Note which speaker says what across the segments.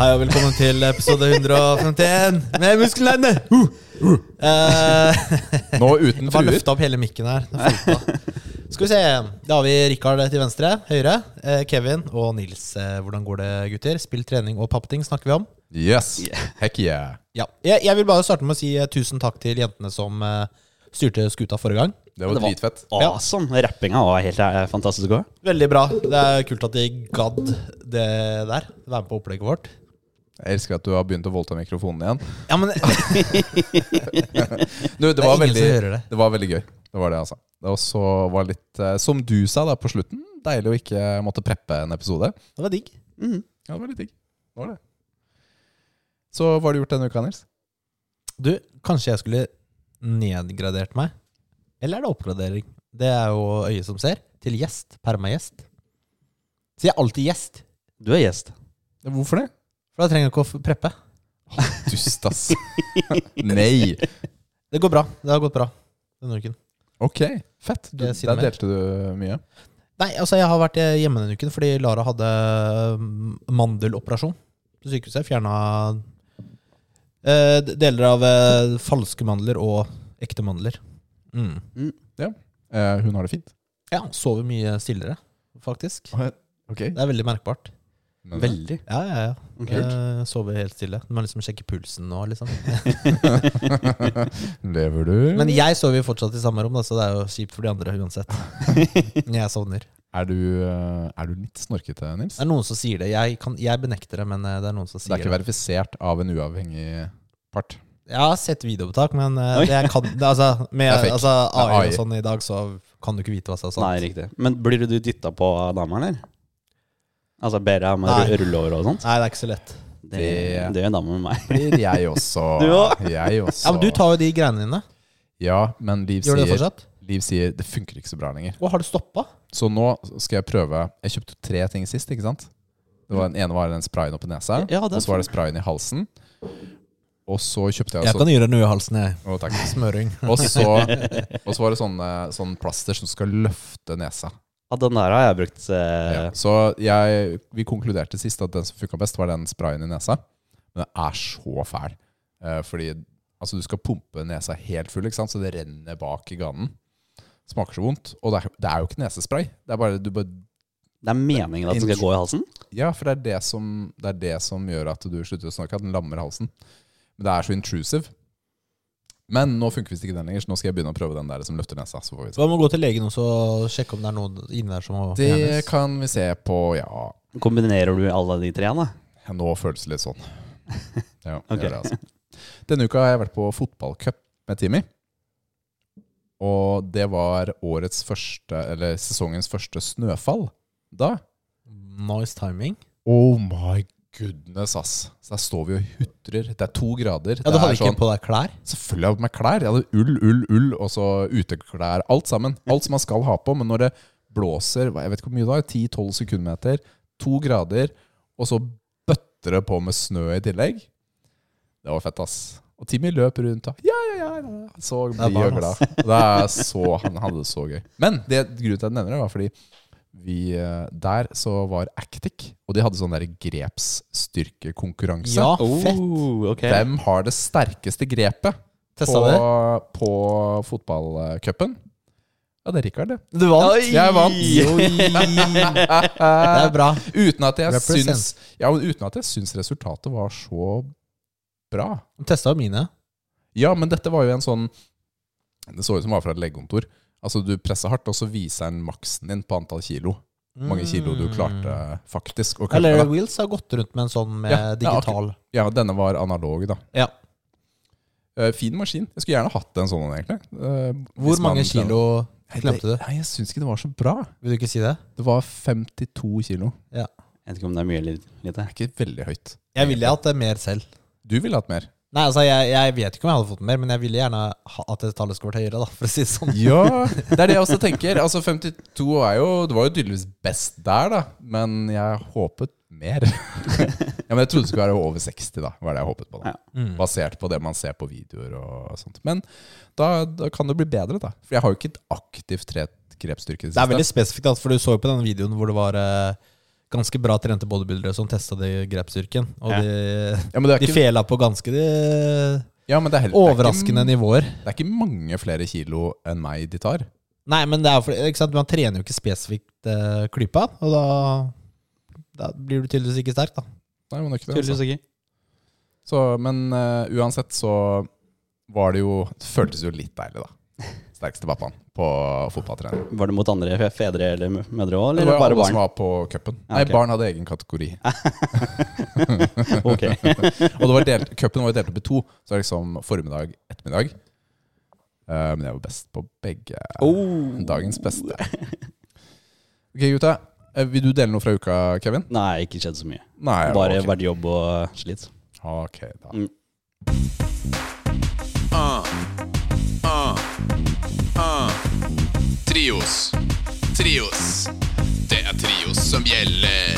Speaker 1: Hei og velkommen til episode 151 med Muskelnerdene! Uh, uh. Eh,
Speaker 2: Nå uten
Speaker 1: jeg bare
Speaker 2: fruer.
Speaker 1: løfta opp hele mikken her. Den fulgte av. Skal vi se. Da har vi Rikard til venstre, høyre. eh, Kevin og Nils. Eh, Hvordan går det, gutter? Spill, trening og pappting snakker vi om.
Speaker 2: Yes. Heck yeah.
Speaker 1: Ja. Jeg, jeg vil bare starte med å si eh, tusen takk til jentene som eh, styrte skuta forrige gang.
Speaker 2: Det var
Speaker 3: Det var-
Speaker 2: dritfett.
Speaker 1: Ja.
Speaker 3: Awesome. Rappinga sånn. var helt eh, fantastisk òg.
Speaker 1: Veldig bra. Det er kult at de gadd det der. Være med på opplegget vårt.
Speaker 2: Jeg elsker at du har begynt å voldta mikrofonen igjen.
Speaker 1: Ja, men
Speaker 2: Du, det,
Speaker 1: er
Speaker 2: var
Speaker 1: ingen
Speaker 2: veldig,
Speaker 1: som hører det.
Speaker 2: det var veldig gøy. Det var det, altså. Og så var det litt eh, Som du sa da på slutten, deilig å ikke måtte preppe en episode.
Speaker 1: det var digg.
Speaker 2: Ja, det var litt digg. Det var det. Så hva har du gjort denne uka, Nils?
Speaker 1: Du, kanskje jeg skulle nedgradert meg? Eller er det oppgradering? Det er jo øyet som ser. Til gjest. Permagjest. Så jeg er alltid gjest,
Speaker 3: Du er gjest.
Speaker 2: Hvorfor det?
Speaker 1: for da trenger jeg ikke å f- preppe.
Speaker 2: Dust, ass. Nei.
Speaker 1: Det går bra. Det har gått bra denne uken.
Speaker 2: Ok, fett. Du,
Speaker 1: Jeg sier
Speaker 2: der
Speaker 1: mer.
Speaker 2: delte du mye.
Speaker 1: Nei, altså jeg har vært hjemme denne uken fordi Lara hadde mm, mandeloperasjon på sykehuset. Fjerna eh, d- deler av eh, falske mandler og ekte mandler. Mm.
Speaker 2: Eh, hun har det fint.
Speaker 1: Ja, sover mye stillere, faktisk.
Speaker 2: Ok.
Speaker 1: Det er veldig merkbart.
Speaker 2: Men,
Speaker 3: Veldig.
Speaker 1: Ja, ja, ja.
Speaker 2: Mhm.
Speaker 3: Ok.
Speaker 1: Jeg sover helt stille. Du må liksom sjekke pulsen nå, liksom.
Speaker 2: Lever du?
Speaker 1: Men jeg sover jo fortsatt i samme rom, da, så det er jo kjipt for de andre uansett. Når jeg sovner.
Speaker 2: Er du, eh, er du litt snorkete, Nils?
Speaker 1: Det er noen som sier det. Jeg, kan, jeg benekter det, men eh, det er noen som
Speaker 2: Det
Speaker 1: sier
Speaker 2: er ikke verifisert av en uavhengig part.
Speaker 1: Jeg har sett videoopptak, men eh,
Speaker 3: Oi.
Speaker 1: det jeg kan, det, altså, med
Speaker 2: Det er fake.
Speaker 1: altså,
Speaker 2: Det er
Speaker 1: AI og
Speaker 2: AI.
Speaker 1: sånn i dag, så kan du ikke vite hva som er sant.
Speaker 3: Nei, riktig. Men blir du dytta på av dama, eller? Altså ber jeg om å
Speaker 1: Nei.
Speaker 3: ru- rulle over og sånt?
Speaker 1: Nei, det er ikke så lett.
Speaker 3: Det, det gjør dama med meg.
Speaker 2: Blir jeg også.
Speaker 3: Du også?
Speaker 2: Jeg også.
Speaker 1: Ja, Men du tar jo de greiene dine.
Speaker 2: Ja, men Liv
Speaker 1: Gjør du det
Speaker 2: sier,
Speaker 1: fortsatt?
Speaker 2: Liv sier det funker ikke så bra lenger.
Speaker 1: Og har du stoppa?
Speaker 2: Så nå skal jeg prøve Jeg kjøpte tre ting sist, ikke sant? Det var den ene var den sprayen oppi nesa,
Speaker 3: Ja, den-
Speaker 2: og så var det sprayen i halsen. Og så kjøpte jeg,
Speaker 1: Jeg
Speaker 2: sånn
Speaker 1: kan gi deg noe i halsen, jeg.
Speaker 2: Å, takk.
Speaker 1: Smøring.
Speaker 2: Og så, og så var det sånne, sånn plaster som skal løfte nesa.
Speaker 3: Ja, den der har jeg brukt eh,
Speaker 2: Ja. Så jeg, vi konkluderte sist at den som funka best, var den sprayen i nesa. Men den er så fæl. Eh, fordi altså, du skal pumpe nesa helt full, ikke sant? så det renner bak i ganen. Smaker så vondt. Og det er, det er jo ikke nesespray. Det er bare, du bare
Speaker 3: Det er meningen at den skal gå i halsen?
Speaker 2: Ja, for det er det som, det er det som gjør at du slutter å snakke, at den lammer halsen. Men det er så intrusive. Men nå funker visst ikke den lenger, så nå skal jeg begynne å prøve den der som løfter nesa. Så får vi se.
Speaker 1: Så man må gå til legen også og sjekke om det er noe inni der som må
Speaker 2: Det
Speaker 1: fjernes.
Speaker 2: kan vi se på, ja
Speaker 3: Kombinerer du alle de tre, da?
Speaker 2: Ja, Nå føles det litt sånn. Ja, det
Speaker 3: Ok.
Speaker 2: gjør det, altså. Denne uka har jeg vært på fotballcup med Timmy. Og det var årets første, eller sesongens første snøfall da.
Speaker 1: Nice timing.
Speaker 2: Oh my goodness, ass. Så der står vi og hutrer. Det er to grader.
Speaker 1: Ja, Du
Speaker 2: det
Speaker 1: hadde
Speaker 2: er sånn-
Speaker 1: ikke på deg klær?
Speaker 2: Selvfølgelig hadde jeg med klær. Jeg hadde ull, ull, ull, og så uteklær. Alt sammen. Alt som man skal ha på. Men når det blåser hva- jeg vet ikke hvor mye da, 10-12 sekundmeter, to grader, og så bøtter det på med snø i tillegg Det var fett, ass. Og Timmy løp rundt og ja, ja, ja, ja. Så
Speaker 1: er
Speaker 2: blid og
Speaker 1: barn,
Speaker 2: glad. Det er så, han hadde det så gøy. Men det, grunnen til at jeg nevner det, var fordi vi, eh, der så var Actic, og de hadde sånn der grepsstyrkekonkurranse.
Speaker 1: Ja, fett.
Speaker 3: Oh, ok.
Speaker 2: Hvem har det sterkeste grepet?
Speaker 1: Testa det.
Speaker 2: på, på fotballcupen. Ja, det er Rikard, det.
Speaker 1: Du vant.
Speaker 2: Oi! Jeg vant.
Speaker 1: det er bra.
Speaker 2: Uten at jeg
Speaker 1: Represent.
Speaker 2: syns, ja, men uten at jeg syns resultatet var så bra.
Speaker 1: De testa jo Mm. mine.
Speaker 2: Ja, men dette var jo en sånn Det så ut som det var fra et legekontor. Altså, du presser hardt, og så viser den maksen din på antall kilo. Hvor mange kilo du klarte faktisk å
Speaker 1: Mm. Eller
Speaker 2: kutte. da.
Speaker 1: Wheels har gått rundt med en sånn med
Speaker 2: Ja, ja,
Speaker 1: digital.
Speaker 2: Ja, denne var analog, da.
Speaker 1: Ja.
Speaker 2: Eh, fin maskin. Jeg skulle gjerne hatt en sånn, egentlig. Eh, hvis
Speaker 1: Hvor
Speaker 2: man-
Speaker 1: mange kilo
Speaker 2: Nei, det-
Speaker 1: klemte du?
Speaker 2: Nei, jeg syns ikke det var så bra.
Speaker 1: Vil du ikke si det?
Speaker 2: Det var 52 kilo.
Speaker 3: Jeg vet ikke om det er mye eller lite.
Speaker 2: Det er ikke veldig høyt.
Speaker 1: Jeg ville hatt det mer selv.
Speaker 2: Du ville hatt mer.
Speaker 1: Nei, altså, jeg, jeg vet ikke om jeg hadde fått mer, men jeg ville gjerne ha at det tallet skulle vært høyere, da, for å si det sånn.
Speaker 2: Ja, det er det jeg også tenker. Altså 52 er jo Det var jo tydeligvis best der, da. Men jeg håpet mer. ja, men jeg trodde det skulle være over 60, da. Var det jeg håpet på. da
Speaker 3: Ja.
Speaker 1: Mm.
Speaker 2: Basert på det man ser på videoer og sånt. Men da, da kan det bli bedre, da. For jeg har jo ikke et aktivt trent grepsstyrke i det
Speaker 1: Det er
Speaker 2: siste.
Speaker 1: veldig spesifikt, da, for du så jo på den videoen hvor det var eh, ganske bra trente bodybuildere som testa det i grepsstyrken, og
Speaker 3: Ja.
Speaker 1: de,
Speaker 2: Ja, men det er
Speaker 1: de
Speaker 2: ikke,
Speaker 1: fela på ganske eh, de,
Speaker 2: ja, men det er heller,
Speaker 1: overraskende
Speaker 2: det er,
Speaker 1: nivåer.
Speaker 2: ikke, det er ikke mange flere kilo enn meg de tar.
Speaker 1: Nei, men det er fordi, ikke sant? man trener jo ikke spesifikt eh, klypa, og da, da blir du tydeligvis ikke sterk, da.
Speaker 2: Nei, men det er ikke det. Altså.
Speaker 3: Tydeligvis ikke.
Speaker 2: Så, men eh, uansett så var det jo Det føltes jo litt deilig, da. Sterkeste pappaen på fotballtrening.
Speaker 3: Var det mot andre fe- fedre eller mø- mødre òg,
Speaker 2: Det var
Speaker 3: eller
Speaker 2: jo
Speaker 3: bare
Speaker 2: alle som
Speaker 3: barn?
Speaker 2: var på cupen.
Speaker 3: Ja,
Speaker 2: Nei,
Speaker 3: ok. Ah.
Speaker 2: barn hadde egen kategori.
Speaker 3: Ok.
Speaker 2: Og det var delt, cupen var jo delt opp i to. Så det var liksom formiddag, ettermiddag. Eh, men jeg var best på begge.
Speaker 3: Oh.
Speaker 2: Dagens beste. Ok, gutta. Eh, Vil du dele noe fra uka, Kevin?
Speaker 3: Nei, ikke skjedd så mye.
Speaker 2: Nei.
Speaker 3: Bare
Speaker 2: ok.
Speaker 3: vært jobb og slitt.
Speaker 2: Ok, da.
Speaker 3: Mm.
Speaker 2: Trios. Trios. Det er trios som gjelder.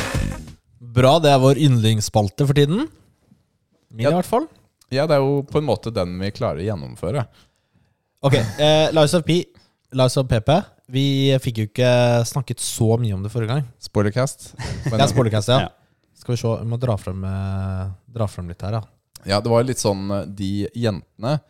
Speaker 1: Bra, det er vår yndlingsspalte for tiden. Min,
Speaker 2: Ja.
Speaker 1: i hvert fall.
Speaker 2: Ja, det er jo på en måte den vi klarer å gjennomføre.
Speaker 1: Ok, eh, Lives of P, Lives of PP. Vi fikk jo ikke snakket så mye om det forrige gang.
Speaker 2: Spoilercast. Men-
Speaker 1: Det er spoilercast, ja.
Speaker 3: Ja.
Speaker 1: Skal vi se, vi må dra frem, eh, dra frem litt her, ja.
Speaker 2: Ja, det var litt sånn eh, De jentene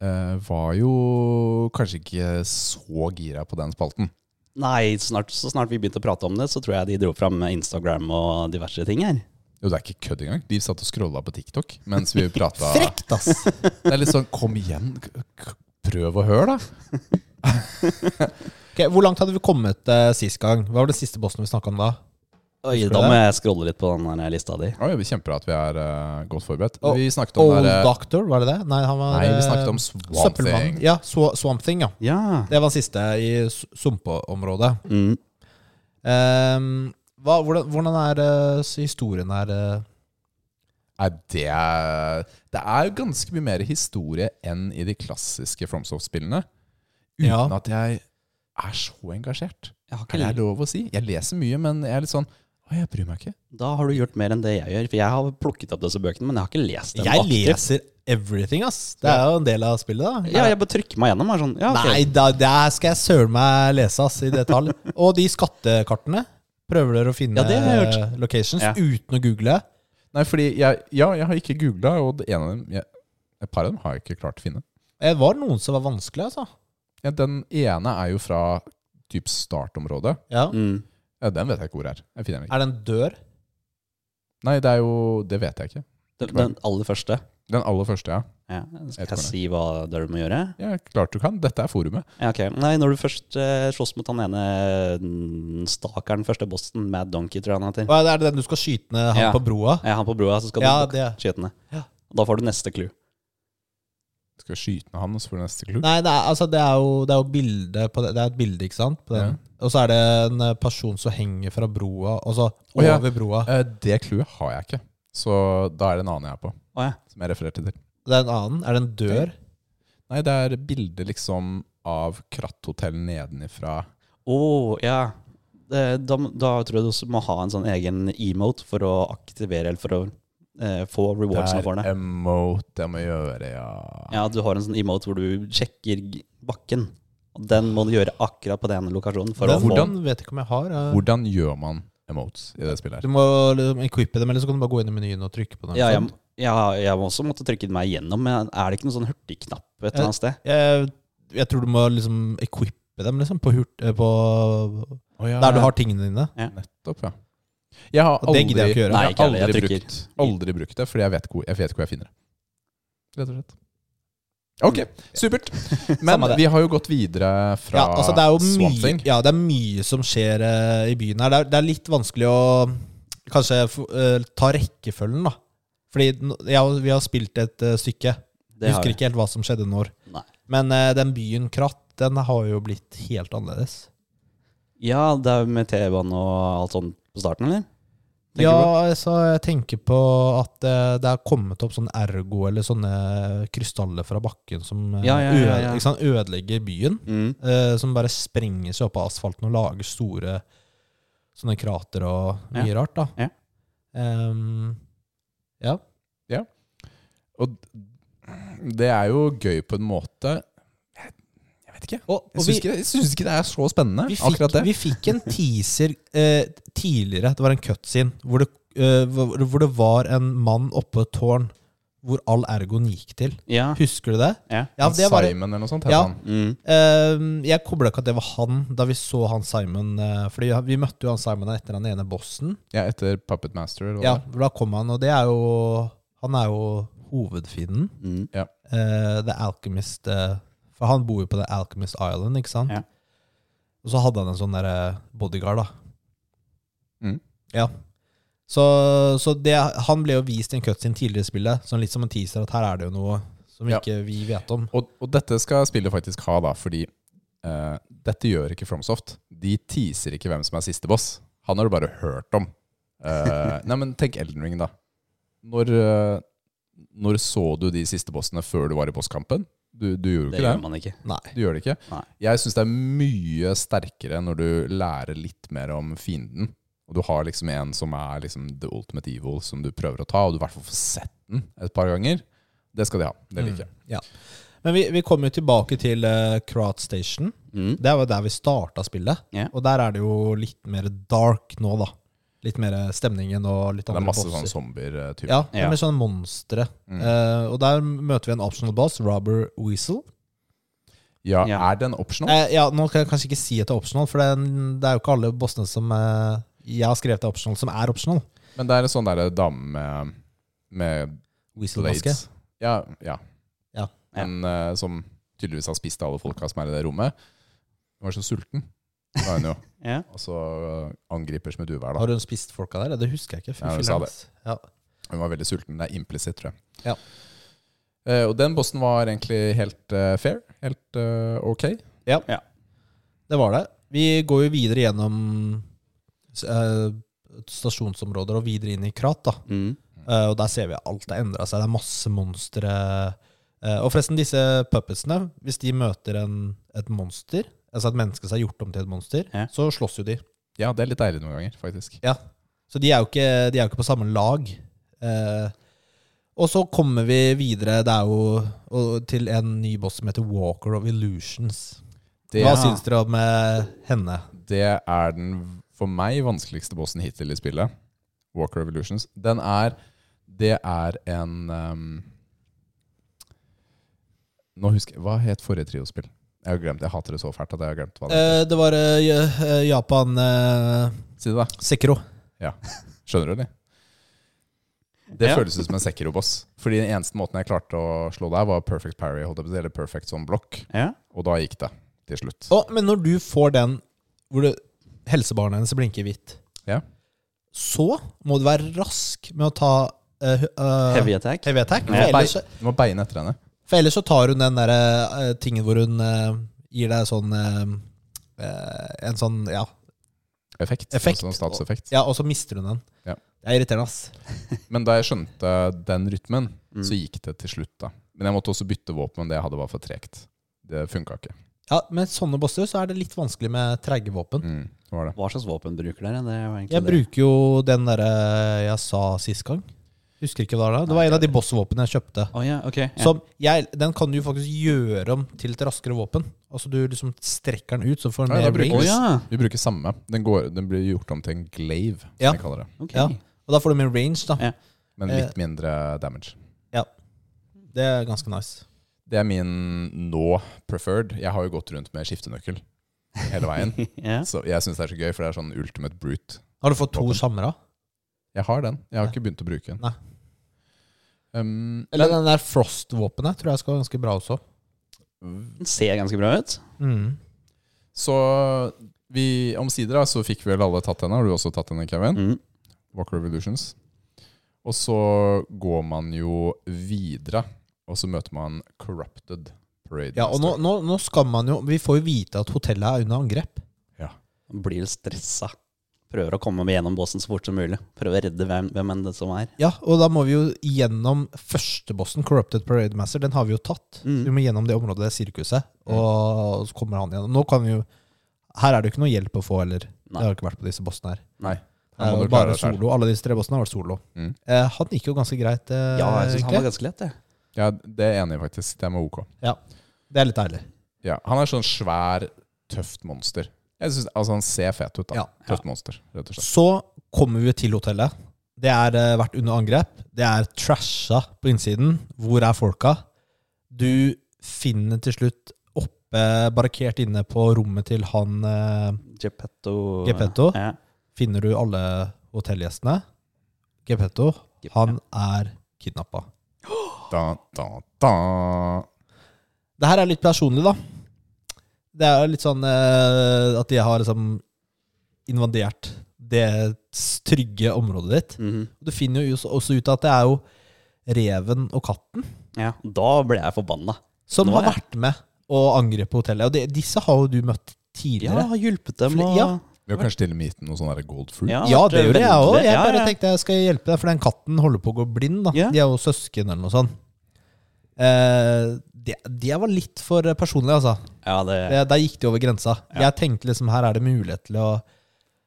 Speaker 2: eh, var jo kanskje ikke så gira på den spalten.
Speaker 3: Nei, snart, så snart vi begynte å prate om det, så tror jeg de dro fram Instagram og diverse ting her.
Speaker 2: Jo, det er ikke kødd engang. De satt og scrolla på TikTok mens vi prata.
Speaker 1: Frekt, ass!
Speaker 2: Det er litt sånn Kom igjen, k- k- prøv å høre, da.
Speaker 1: Ok, hvor langt hadde vi kommet eh, sist gang? Hva var det siste bossen vi snakka om da?
Speaker 3: Oi,
Speaker 1: Husker du
Speaker 3: da
Speaker 1: det?
Speaker 3: må jeg scrolle litt på den her lista di.
Speaker 2: Oi, det er Kjempebra at vi er eh, godt forberedt.
Speaker 1: Oh,
Speaker 2: vi snakket om
Speaker 1: Old
Speaker 2: der, eh,
Speaker 1: Doctor, var det det? Nei, han var
Speaker 2: Nei, vi snakket om
Speaker 1: eh,
Speaker 2: Swamp
Speaker 1: Søppelmannen.
Speaker 2: Thing.
Speaker 1: Ja, Swa- Swamp Thing, ja.
Speaker 3: Ja.
Speaker 1: Det var den siste i s- sumpeområdet.
Speaker 3: Mm.
Speaker 1: Ehm, hva, hvordan, hvordan er eh, s- historien her? eh?
Speaker 2: Nei, det er, det er jo ganske mye mer historie enn i de klassiske FromSoft-spillene. Uten
Speaker 1: Ja.
Speaker 2: at jeg er så engasjert.
Speaker 3: Jeg har
Speaker 2: Er
Speaker 3: ikke
Speaker 2: det
Speaker 3: lært.
Speaker 2: lov å si? Jeg leser mye, men jeg er litt sånn Å, jeg bryr meg ikke.
Speaker 3: Da har du gjort mer enn det jeg gjør. For jeg har plukket opp disse bøkene, men jeg har ikke lest dem
Speaker 1: Jeg
Speaker 3: aktivt.
Speaker 1: leser everything, ass. Det er jo en del av spillet, da.
Speaker 3: Ja, jeg bare trykker meg gjennom. Er sånn, ja, ok.
Speaker 1: Nei, da, der skal jeg søren meg lese ass, i detalj. Og de skattekartene. Prøver dere å finne
Speaker 3: Ja, det har jeg hørt.
Speaker 1: eh, locations
Speaker 3: Ja.
Speaker 1: uten å google?
Speaker 2: Nei, fordi jeg, ja, jeg har ikke googla, og det ene av dem jeg, Et par av dem har jeg ikke klart å finne.
Speaker 1: Eh, Det var noen som var vanskelig, altså.
Speaker 2: Ja, den ene er jo fra typ startområdet.
Speaker 1: Ja.
Speaker 3: Mm.
Speaker 2: Ja, den vet jeg ikke hvor er. Jeg finner den ikke.
Speaker 1: Er det en dør?
Speaker 2: Nei, det er jo Det vet jeg ikke.
Speaker 3: Den, den aller første.
Speaker 2: Den aller første, ja.
Speaker 3: Ja.
Speaker 2: Jeg
Speaker 3: Skal
Speaker 2: tror
Speaker 3: jeg
Speaker 2: det.
Speaker 3: si hva det er du må gjøre?
Speaker 2: Ja, Klart du kan. Dette er forumet.
Speaker 3: Ja, ok. Nei, når du først eh, slåss mot han ene mm, stakeren, første bossen, Mad Donkey, tror jeg han heter.
Speaker 1: Og er det den du skal skyte ned han
Speaker 3: Ja.
Speaker 1: på broa?
Speaker 3: Ja, han på broa, så skal
Speaker 1: Ja,
Speaker 3: du
Speaker 1: det.
Speaker 3: skyte den ned.
Speaker 1: Ja.
Speaker 3: Da får du neste clue.
Speaker 2: Skal jeg skyte ned han, og så får du neste clue?
Speaker 1: Nei, det er, altså, det er jo, det er jo bilde på det. Det er et bilde, ikke sant? På den. Og så er det en eh, person som henger fra broa, og så
Speaker 2: Å, ja.
Speaker 1: over broa.
Speaker 2: Eh, Det clouet har jeg ikke. Så da er det en annen jeg er på,
Speaker 3: Å ja.
Speaker 2: som jeg refererte til.
Speaker 1: Det er en annen. Er det en dør?
Speaker 2: Nei, det er bilde liksom av kratthotell nedenifra.
Speaker 3: Åh, ja. Eh, Da, da tror jeg du også må ha en sånn egen emote for å aktivere, eller for å eh, få
Speaker 2: Det
Speaker 3: rewardsene for det.
Speaker 2: er emote jeg må gjøre, ja.
Speaker 3: Ja, du har en sånn emote hvor du sjekker g- bakken. Og Den må du gjøre akkurat på den ene lokasjonen. For
Speaker 1: Den
Speaker 3: å få
Speaker 2: hvordan-
Speaker 3: den.
Speaker 1: vet ikke om jeg har. eh.
Speaker 2: Hvordan gjør man emotes i det spillet
Speaker 1: Du
Speaker 2: her?
Speaker 1: må liksom equippe dem, eller så kan du bare gå inn i menyen og trykke på den.
Speaker 3: Ja, jeg,
Speaker 2: Sånn?
Speaker 3: ja, jeg må også måtte trykke meg igjennom, men er det ikke noen sånn hurtigknapp et
Speaker 1: Ja.
Speaker 3: eller annet sted?
Speaker 1: jeg, jeg tror du må liksom equippe dem, liksom, på hurt... eh, På,
Speaker 2: Oh, ja.
Speaker 1: der du har tingene dine.
Speaker 2: Nettopp, ja. Jeg har
Speaker 1: Og det
Speaker 2: aldri,
Speaker 1: gidder jeg ikke gjøre.
Speaker 2: jeg har
Speaker 3: Nei, ikke heller.
Speaker 2: aldri,
Speaker 3: Jeg trykker.
Speaker 2: brukt, aldri brukt det, fordi jeg vet, hvor, jeg vet hvor jeg finner det. Rett og slett. Ok, supert. Men
Speaker 1: Samme det.
Speaker 2: vi har jo gått videre fra
Speaker 1: Ja, altså det er jo
Speaker 2: Swamp
Speaker 1: mye,
Speaker 2: Thing.
Speaker 1: ja, det er mye som skjer eh, i byen her. Det er, det er litt vanskelig å kanskje f- eh, ta rekkefølgen, da. Fordi n- ja, vi har spilt et eh, stykke.
Speaker 3: Det har
Speaker 1: Husker
Speaker 3: jeg.
Speaker 1: ikke helt hva som skjedde når.
Speaker 3: Nei.
Speaker 1: Men eh, den byen Kratt, den har jo blitt helt annerledes.
Speaker 3: Ja, det er jo med T-banen og alt sånt på starten, eller? tenker
Speaker 1: ja,
Speaker 3: du?
Speaker 1: altså, jeg tenker på at eh, det er kommet opp sånn ergo eller sånne krystaller fra bakken som eh,
Speaker 3: Ja, ja, ja,
Speaker 1: øde-
Speaker 3: ja.
Speaker 1: Ikke sant? ødelegger byen.
Speaker 3: Mm.
Speaker 1: eh, som bare sprenger seg opp av asfalten og lager store sånne krater og mye rart, da.
Speaker 3: Ja.
Speaker 1: Ehm, ja.
Speaker 2: Og det er jo gøy på en måte Jeg, jeg vet ikke.
Speaker 1: Og,
Speaker 2: Jeg
Speaker 1: og
Speaker 2: syns
Speaker 1: vi,
Speaker 2: ikke, jeg syns ikke det er så spennende,
Speaker 1: vi, fikk,
Speaker 2: akkurat det.
Speaker 1: vi fikk en teaser eh, tidligere, det var en cutscene, hvor det, eh, hvor, hvor det var en mann oppe på et tårn hvor all ergoen gikk til.
Speaker 3: Ja.
Speaker 1: Husker du det?
Speaker 3: ja.
Speaker 1: Ja, det var,
Speaker 2: Simon eller noe sånt.
Speaker 1: Ja.
Speaker 2: Ja. Han.
Speaker 3: Mm.
Speaker 1: Ehm, jeg kobla ikke at det var han da vi så han Simon. eh, fordi vi møtte jo han Simon etter den ene bossen.
Speaker 2: ja, Etter Puppet Master. Og
Speaker 1: Ja, for Da kom han, og det er jo Han er jo hovedfienden.
Speaker 3: Mm.
Speaker 1: Eh, The Alchemist eh, For han bor jo på The Alchemist Island, ikke sant?
Speaker 3: Ja.
Speaker 1: Og så hadde han en sånn der eh, bodyguard, da.
Speaker 2: Mm.
Speaker 1: Ja. Så, så det, han ble jo vist i en cutscene tidligere i spillet, sånn litt som en teaser at her er det jo noe som
Speaker 2: Ja.
Speaker 1: ikke vi vet om.
Speaker 2: Og, og dette skal spillet faktisk ha, da, fordi eh, dette gjør ikke Fromsoft. De teaser ikke hvem som er siste boss. Han har du bare hørt om. Eh, nei, men tenk Elden Ring, da. Når, eh, når så du de siste bossene før du var i bosskampen? Du, du gjorde jo
Speaker 3: Det
Speaker 2: ikke det.
Speaker 3: gjør man ikke.
Speaker 1: Nei.
Speaker 2: Du gjør det ikke.
Speaker 3: Nei.
Speaker 2: Jeg syns det er mye sterkere når du lærer litt mer om fienden. Og du har liksom en som er liksom the ultimate evil, som du prøver å ta, og du i hvert fall får sett den et par ganger. Det skal de ha. Det
Speaker 3: Mm.
Speaker 2: liker jeg.
Speaker 1: Mm. Ja. Men vi, vi kommer jo tilbake til uh, Krat Station.
Speaker 3: Mm.
Speaker 1: Det var der vi starta spillet.
Speaker 3: Ja.
Speaker 1: Og der er det jo litt mer dark nå, da. Litt mer stemningen og litt
Speaker 2: Det
Speaker 1: andre
Speaker 2: er masse sånn eh,
Speaker 1: bosser.
Speaker 2: sånne zombier-typer.
Speaker 1: Ja, det
Speaker 3: Ja.
Speaker 1: er mer sånn monstre.
Speaker 2: Mm.
Speaker 1: Eh, og der møter vi en optional boss, Robber Weasel.
Speaker 2: Ja,
Speaker 3: Ja.
Speaker 2: er den optional?
Speaker 1: Eh, ja, nå kan jeg kanskje ikke si at det er optional, for det er, det er jo ikke alle bossene som eh, jeg har skrevet er optional, som er optional.
Speaker 2: Men det er en sånn derre dame med, med
Speaker 1: Weasel-maske.
Speaker 2: blades. Ja, ja.
Speaker 1: Ja.
Speaker 2: En eh, som tydeligvis har spist alle folka som er i det rommet. Hun var så sulten, var hun jo.
Speaker 3: Ja.
Speaker 2: Og så eh, angriper som et uvær, da.
Speaker 1: Har hun spist folka der? Det husker jeg ikke. Fy
Speaker 2: Ja, hun
Speaker 1: filler'n,
Speaker 2: sa det.
Speaker 1: ass. Ja.
Speaker 2: Hun var veldig sulten. Det er implisitt, tror jeg.
Speaker 1: Ja.
Speaker 2: Eh, og den bossen var egentlig helt eh, fair. Helt eh, ok.
Speaker 1: Det var det. Vi går jo videre gjennom eh, stasjonsområder og videre inn i Krat. da.
Speaker 3: Mm.
Speaker 1: Eh, og der ser vi at alt har endra seg. Det er masse monstre. Eh, og forresten, disse puppetsene, hvis de møter en, et monster, altså et menneske som er gjort om til et monster,
Speaker 3: Ja.
Speaker 1: så slåss jo de.
Speaker 2: Ja, det er litt deilig noen ganger, faktisk.
Speaker 1: Ja. Så de er jo ikke, de er jo ikke på samme lag. Eh, og så kommer vi videre det er jo, og, til en ny boss som heter Walker of Illusions.
Speaker 2: Det,
Speaker 1: Hva syns dere om eh, henne?
Speaker 2: det er den for meg vanskeligste bossen hittil i spillet. Walker Revolutions. Den er Det er en ehm, Nå husker jeg Hva het forrige triospill? Jeg har glemt, jeg hater det så fælt at jeg har glemt hva det
Speaker 1: Eh, det var eh, Ja- eh, Japan eh,
Speaker 2: Si det, da.
Speaker 1: Sekiro.
Speaker 2: Skjønner du, eller? Det
Speaker 3: Ja.
Speaker 2: føles ut som en Sekiro-boss. Fordi den eneste måten jeg klarte å slå der, var perfect parry, holdt jeg på å si, eller perfect sånn blokk.
Speaker 3: Ja.
Speaker 2: Og da gikk det til slutt.
Speaker 1: Å, men når du får den hvor det, helsebarnet hennes blinker hvitt,
Speaker 2: Ja.
Speaker 1: så må du være rask med å ta eh, hu- eh,
Speaker 3: Heavy attack.
Speaker 1: heavy attack,
Speaker 2: Du må,
Speaker 1: for, ellers,
Speaker 2: bei- du må beine etter henne.
Speaker 1: for ellers så tar hun den der eh, tingen hvor hun eh, gir deg sånn eh, eh, En sånn, ja,
Speaker 2: Effekt.
Speaker 1: Effekt.
Speaker 2: Altså en statseffekt.
Speaker 1: ja, og så mister hun den.
Speaker 2: Ja.
Speaker 1: Det er irriterende, ass.
Speaker 2: Men da jeg skjønte den rytmen,
Speaker 1: Mm.
Speaker 2: så gikk det til slutt, da. Men jeg måtte også bytte våpen, men det jeg hadde var for tregt. Det funka ikke.
Speaker 1: Ja, Med sånne bosser så er det litt vanskelig med treige våpen.
Speaker 2: Mm, det var det.
Speaker 3: Hva slags våpen bruker dere? Det var egentlig
Speaker 1: Jeg
Speaker 3: det.
Speaker 1: bruker jo den derre jeg sa sist gang. Husker ikke hva det var. Det var en av de bossvåpnene jeg kjøpte.
Speaker 3: Å ja, ok. Ja.
Speaker 1: Som jeg, den kan du faktisk gjøre om til et raskere våpen. Altså Du liksom strekker den ut, så får den mer
Speaker 2: Ja, da bruker
Speaker 1: range.
Speaker 3: Å ja,
Speaker 2: Vi bruker samme. Den, går, den blir gjort om til en glaive, som
Speaker 1: Ja.
Speaker 2: jeg kaller det.
Speaker 3: ok.
Speaker 1: Ja. Og da får du mer range, da.
Speaker 3: Ja.
Speaker 2: Men litt
Speaker 1: Eh.
Speaker 2: mindre damage.
Speaker 1: Det er ganske nice.
Speaker 2: Det er min nå preferred. Jeg har jo gått rundt med skiftenøkkel hele veien.
Speaker 3: Ja.
Speaker 2: Så jeg syns det er så gøy, for det er sånn ultimate brute.
Speaker 1: Har du fått to
Speaker 2: Våpen.
Speaker 1: samra?
Speaker 2: Jeg har den. Jeg har ikke begynt å bruke den.
Speaker 1: Nei.
Speaker 2: Um,
Speaker 1: Eller den der Frost-våpenet tror jeg skal være ganske bra også.
Speaker 3: Den ser ganske bra ut.
Speaker 1: Mm.
Speaker 2: Så vi, omsider da, så fikk vi vel alle tatt henne. Har du også tatt henne, Kevin?
Speaker 3: Mm.
Speaker 2: Walker Revolutions. Og så går man jo videre, og så møter man Corrupted Parade.
Speaker 1: Ja, og nå,
Speaker 2: Master.
Speaker 1: nå, nå skal man jo Vi får jo vite at hotellet er under angrep.
Speaker 3: Blir stressa. prøver å komme gjennom båsen så fort som mulig. Prøver å redde hvem, hvem enn det som er.
Speaker 1: Ja, og da må vi jo gjennom førstebossen, Corrupted Parade Master. Den har vi jo tatt.
Speaker 3: Mm.
Speaker 1: Vi må gjennom det området, det sirkuset, og så kommer han gjennom. Nå kan vi jo Her er det jo ikke noe hjelp å få, eller.
Speaker 3: Nei.
Speaker 1: Det har jo ikke vært på disse bossene her.
Speaker 2: Nei.
Speaker 1: Det
Speaker 2: Da
Speaker 1: er jo
Speaker 2: må du klare
Speaker 1: bare
Speaker 2: deg selv.
Speaker 1: solo. Alle disse tre bossene har vært solo.
Speaker 2: Mm.
Speaker 1: Eh, han gikk jo ganske greit, eh,
Speaker 3: Ja, jeg synes han
Speaker 1: egentlig.
Speaker 3: var ganske lett, det.
Speaker 2: Ja, det er jeg enig i, faktisk. Det er med OK.
Speaker 1: Det er litt deilig.
Speaker 2: Ja, han er sånn svær, tøft monster. Jeg synes, altså Han ser fet ut, da.
Speaker 1: Ja.
Speaker 2: Tøft monster, rett og slett.
Speaker 1: Så kommer vi til hotellet. Det er eh, vært under angrep. Det er trasha på innsiden. Hvor er folka? Du finner til slutt oppe, barrikert inne på rommet til han eh,
Speaker 3: Geppetto.
Speaker 1: Geppetto?
Speaker 3: Ja.
Speaker 1: finner du alle hotellgjestene. Gepetto, han er kidnappa.
Speaker 2: Da, da, da.
Speaker 1: Det her er litt personlig, da. Det er litt sånn eh, at de har liksom invadert det trygge området ditt.
Speaker 3: Mhm.
Speaker 1: Du finner jo også- også ut at det er jo reven og katten
Speaker 3: ja. Da ble jeg forbanna.
Speaker 1: som
Speaker 3: Nå
Speaker 1: har
Speaker 3: er
Speaker 1: vært med å angripe hotellet. Og de, disse har jo du møtt
Speaker 3: Ja,
Speaker 1: tidligere.
Speaker 3: har hjulpet dem
Speaker 1: Fli-
Speaker 3: og
Speaker 1: ja.
Speaker 2: Vi har kanskje til og med gitt den noe sånn der gold fruit.
Speaker 1: Ja,
Speaker 3: Ja,
Speaker 1: det gjorde jeg
Speaker 3: veldig.
Speaker 1: òg. Jeg
Speaker 3: Ja,
Speaker 1: bare
Speaker 3: ja.
Speaker 1: tenkte jeg skal hjelpe deg, for den katten holder på å gå blind. da
Speaker 3: Ja.
Speaker 1: De er jo søsken eller noe sånt. Eh, det, det var litt for personlig, altså.
Speaker 3: Ja, det,
Speaker 1: Det, der gikk de over grensa. Jeg tenkte liksom her er det mulighet til å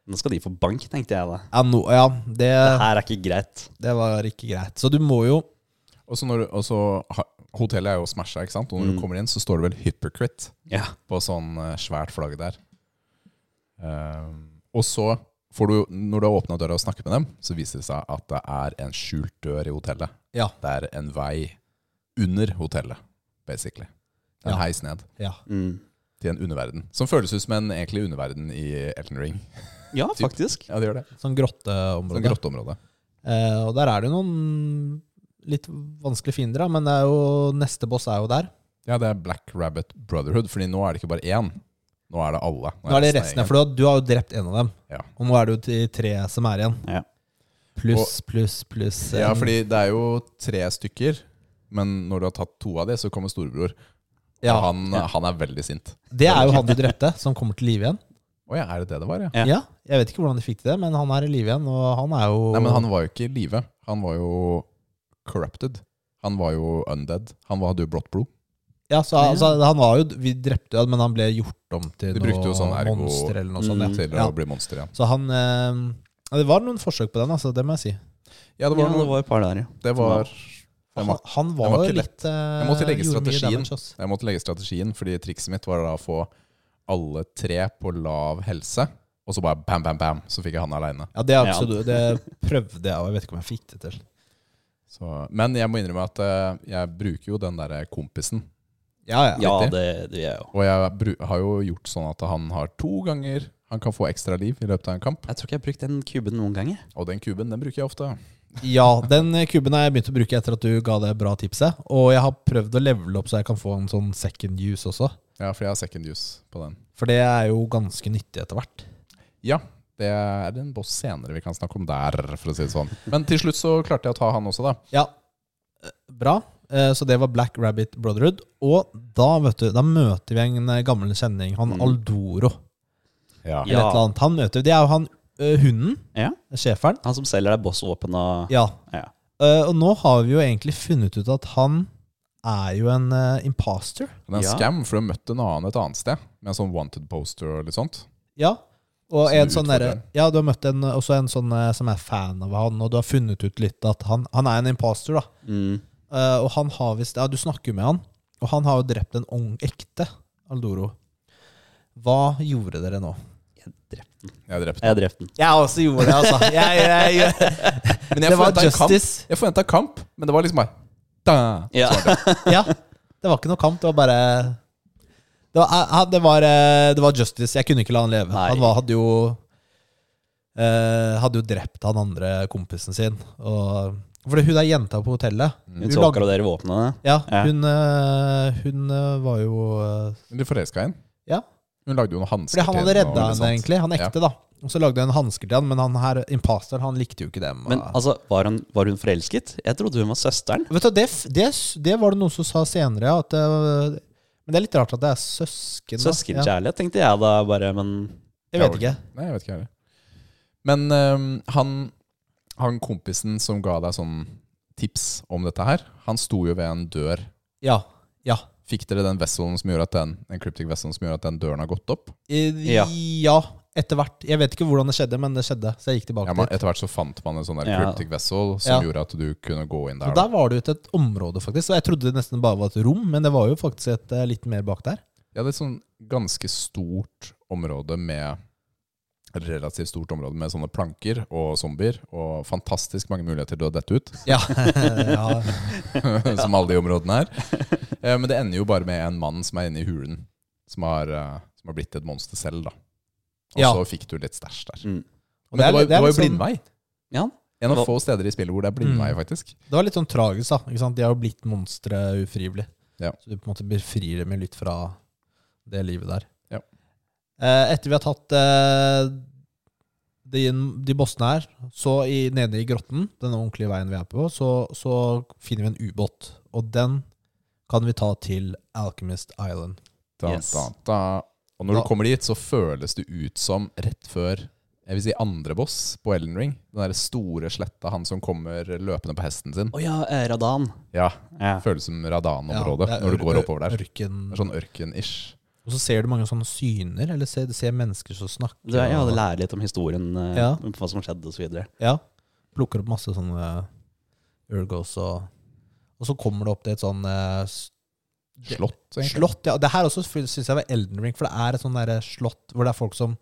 Speaker 3: nå skal de få bank, tenkte jeg da.
Speaker 1: Ja, no, ja det,
Speaker 3: Det her er ikke greit.
Speaker 1: det var ikke greit. Så du må jo
Speaker 2: Og så når du, og så, ha- hotellet er jo smasha, ikke sant? Og
Speaker 1: Mm.
Speaker 2: når du kommer inn, så står det vel 'hypocrite'
Speaker 3: Ja.
Speaker 2: på sånn eh, svært flagg der. Ehm, og så får du, når du har åpna døra og snakket med dem, så viser det seg at det er en skjult dør i hotellet.
Speaker 1: Ja.
Speaker 2: Det er en vei under hotellet, basically. Det er En
Speaker 1: Ja.
Speaker 2: heis ned
Speaker 1: Ja,
Speaker 3: Mm.
Speaker 2: til en underverden. Som føles ut som en egentlig underverden i Elton Ring.
Speaker 3: ja,
Speaker 2: Typ.
Speaker 3: faktisk.
Speaker 2: Ja, det gjør det.
Speaker 1: sånn
Speaker 2: Sånn
Speaker 1: grotteområde.
Speaker 2: grotteområde.
Speaker 1: Eh, og der er det jo noen litt vanskelige fiender, da, men det er jo, neste boss er jo der.
Speaker 2: Ja, det er Black Rabbit Brotherhood, Fordi nå er det ikke bare én. Nå er det alle.
Speaker 1: Nå er det resten, ja,
Speaker 2: av
Speaker 1: for du har- du har jo drept en av dem.
Speaker 2: Ja.
Speaker 1: Og nå er det jo de tre som er igjen.
Speaker 3: Ja.
Speaker 1: Pluss, pluss, pluss.
Speaker 2: Ja,
Speaker 1: en-
Speaker 2: fordi det er jo tre stykker, men når du har tatt to av de, så kommer storebror.
Speaker 1: Ja.
Speaker 2: Og han, han er veldig sint.
Speaker 1: Det er jo han du drepte, som kommer til live igjen.
Speaker 2: Å ja, er det det det var, ja?
Speaker 1: Ja.
Speaker 3: Ja.
Speaker 1: Jeg vet ikke hvordan de fikk til det, men han er i live igjen, og han er jo
Speaker 2: Nei, men han var jo ikke i live. Han var jo corrupted. Han var jo undead. Han var, hadde jo blått blod.
Speaker 1: Ja, så, altså, han var jo Vi drepte jo han, men han ble gjort om til
Speaker 2: De brukte jo
Speaker 1: noe
Speaker 2: sånn ergo-
Speaker 1: monster eller noe
Speaker 2: Sånn,
Speaker 1: sånt.
Speaker 2: ja,
Speaker 3: Mm.
Speaker 2: til
Speaker 1: Ja.
Speaker 2: å bli monster igjen.
Speaker 1: Ja. Så han eh, ja, Det var noen forsøk på den, altså, det må jeg si.
Speaker 2: Ja, det
Speaker 3: Ja,
Speaker 2: var,
Speaker 3: det
Speaker 2: noe,
Speaker 3: var et par der, ja.
Speaker 2: det var det
Speaker 1: Han,
Speaker 2: var-
Speaker 1: han var,
Speaker 2: den var
Speaker 1: jo
Speaker 2: ikke
Speaker 1: litt eh,
Speaker 2: Jeg måtte legge
Speaker 1: gjorde mye
Speaker 2: strategien.
Speaker 1: damage, ass.
Speaker 2: Jeg måtte legge strategien, fordi trikset mitt var da å få alle tre på lav helse, og så bare bam, bam, bam, så fikk jeg han aleine.
Speaker 1: Ja, det, er
Speaker 3: Ja.
Speaker 1: absolutt, det prøvde jeg, og jeg vet ikke om jeg fikk det til.
Speaker 2: Men jeg må innrømme at eh, jeg bruker jo den derre kompisen.
Speaker 1: Ja, ja.
Speaker 3: Ja,
Speaker 2: riktig.
Speaker 3: det, det gjør jeg òg.
Speaker 2: Og jeg bru har jo gjort sånn at han har to ganger Han kan få ekstra liv i løpet av en kamp.
Speaker 3: Jeg tror ikke jeg har brukt den kuben noen gang. jeg.
Speaker 2: Og den kuben, den bruker jeg ofte.
Speaker 1: Ja, den kuben har jeg begynt å bruke etter at du ga det bra tipset. Og jeg har prøvd å levele opp så jeg kan få en sånn second use også.
Speaker 2: Ja, for jeg har second use på den.
Speaker 1: For det er jo ganske nyttig etter hvert.
Speaker 2: Ja, det er en boss senere vi kan snakke om der, for å si det sånn. Men til slutt så klarte jeg å ta han også, da.
Speaker 1: Ja, eh, bra. Eh, Så det var Black Rabbit Brotherhood. Og da, vet du, da møter vi en eh, gammel kjenning, han
Speaker 3: Mm.
Speaker 1: Aldoro.
Speaker 2: Ja.
Speaker 1: Eller et eller annet. Han møter, det er jo han eh, hunden,
Speaker 3: Ja.
Speaker 1: sjeferen.
Speaker 3: Han som selger deg bossvåpen og
Speaker 1: Ja.
Speaker 3: Ja.
Speaker 1: Eh, Og nå har vi jo egentlig funnet ut at han er jo en eh, imposter.
Speaker 2: Det er en
Speaker 3: Ja.
Speaker 2: scam, for du har møtt en annen et annet sted, med en sånn wanted poster og litt sånt.
Speaker 1: Ja. Og
Speaker 2: Som
Speaker 1: en
Speaker 2: du
Speaker 1: sånn
Speaker 2: utfordrer.
Speaker 1: derre- ja, du har møtt en, også en sånn eh, som er fan av han, og du har funnet ut litt at han, han er en imposter, da.
Speaker 3: mm.
Speaker 1: Eh, og han har visst Ja, du snakker jo med han, og han har jo drept en ung ekte Aldoro. Hva gjorde dere nå?
Speaker 3: Jeg drepte den.
Speaker 2: Jeg drepte
Speaker 3: Jeg drepte den.
Speaker 1: Jeg også gjorde det, altså.
Speaker 2: Men
Speaker 1: det var
Speaker 2: forventet en kamp.
Speaker 1: justice.
Speaker 2: Jeg forventa kamp, men det var liksom bare da.
Speaker 3: Ja.
Speaker 1: Ja. Det var ikke noe kamp, det var bare det var, eh, det var, eh, det var justice. Jeg kunne ikke la han leve.
Speaker 3: Nei.
Speaker 1: Han var, hadde jo eh, Hadde jo drept han andre kompisen sin. Og, for hun der jenta på hotellet
Speaker 3: Mm. Hun
Speaker 1: Du
Speaker 3: så
Speaker 1: lag-
Speaker 3: akkurat dere våpnene.
Speaker 1: Ja,
Speaker 3: Ja.
Speaker 1: hun, eh, hun eh, var jo eh,
Speaker 2: Men Du forelska i henne?
Speaker 1: Ja.
Speaker 2: Hun lagde jo noen hansker
Speaker 1: Fordi han hadde
Speaker 2: til henne og
Speaker 1: redda
Speaker 2: litt
Speaker 1: henne,
Speaker 2: sånt.
Speaker 1: egentlig. Han ekte, da. Og så lagde jeg en hansker til han, men han her, imposter, han likte jo ikke dem.
Speaker 3: Men
Speaker 1: og-
Speaker 3: altså, var hun, var hun forelsket? Jeg trodde hun var søsteren.
Speaker 1: Vet du, det, f- det, s- det var det noen som sa senere, ja. At, øh, men det er litt rart at det er søsken. da. Ja,
Speaker 3: Søskenkjærlighet, tenkte jeg da bare, men
Speaker 1: jeg vet ikke.
Speaker 2: Nei, jeg vet ikke heller. Men øhm, han, han kompisen som ga deg sånn tips om dette her, han sto jo ved en dør.
Speaker 1: Ja. Ja.
Speaker 2: Fikk dere den vesselen som gjør at den, den cryptic vesselen som gjør at den døren har gått opp?
Speaker 1: Eh,
Speaker 3: Ja.
Speaker 1: ja. Etter hvert. Jeg vet ikke hvordan det skjedde, men det skjedde. Så jeg gikk tilbake
Speaker 2: Ja, man,
Speaker 1: dit.
Speaker 2: etter hvert så fant man en sånn der
Speaker 3: Ja.
Speaker 2: cryptic vessel som
Speaker 1: Ja.
Speaker 2: gjorde at du kunne gå inn der.
Speaker 1: Og
Speaker 2: da.
Speaker 1: der var det jo til et område, faktisk. Og jeg trodde det nesten bare var et rom, men det var jo faktisk et eh, litt mer bak der.
Speaker 2: Ja, det er et sånn ganske stort område med et Relativt stort område med sånne planker og zombier. Og fantastisk mange muligheter til å dette ut,
Speaker 1: Ja. ja.
Speaker 2: som alle de områdene her. Eh, Men det ender jo bare med en mann som er inne i hulen, som har, eh, som har blitt et monster selv, da. Og
Speaker 1: Ja.
Speaker 2: så fikk du litt stæsj der.
Speaker 3: Mm.
Speaker 2: Men det,
Speaker 1: er
Speaker 2: var,
Speaker 1: litt-
Speaker 2: det
Speaker 1: er
Speaker 2: var
Speaker 1: litt
Speaker 2: jo
Speaker 1: sånn-
Speaker 2: blindvei.
Speaker 3: Ja.
Speaker 2: En av
Speaker 3: Hva-
Speaker 2: få steder i spillet hvor det er blindvei, faktisk.
Speaker 1: Det var litt sånn tragisk, da. Ikke sant? De har jo blitt monstre ufrivillig.
Speaker 2: Ja.
Speaker 1: Så du på en måte befrir dem jo litt fra det livet der.
Speaker 2: Ja.
Speaker 1: Eh, etter vi har tatt eh, de, de bossene her, så i, nede i grotten, den ordentlige veien vi er på, så, så finner vi en ubåt. Og den kan vi ta til Alchemist Island.
Speaker 2: Da,
Speaker 3: Yes.
Speaker 2: da, da. Og når
Speaker 1: Da-
Speaker 2: du kommer dit, så føles det ut som rett før jeg vil si andre boss på Elden Ring. Den der store sletta, han som kommer løpende på hesten sin.
Speaker 3: Å ja, eh, Radan.
Speaker 2: Ja,
Speaker 3: Ja.
Speaker 2: Føles som Radan-området
Speaker 1: Ja, det er
Speaker 2: når
Speaker 1: ør-
Speaker 2: du går oppover der.
Speaker 1: Ørken.
Speaker 2: Det er sånn ørken-ish.
Speaker 1: Og så ser du mange sånne syner, eller ser, ser mennesker som snakker.
Speaker 3: Du, jeg
Speaker 1: og-
Speaker 3: hadde lært litt om historien, eh,
Speaker 1: Ja.
Speaker 3: om hva som skjedde osv.
Speaker 1: Ja. Plukker opp masse sånne Urgos og Og så kommer det opp til et sånn eh, s- Det-
Speaker 2: Slott, egentlig.
Speaker 1: slott. Ja, det her også syns jeg var Elden Ring, for det er et sånn derre slott hvor det er folk som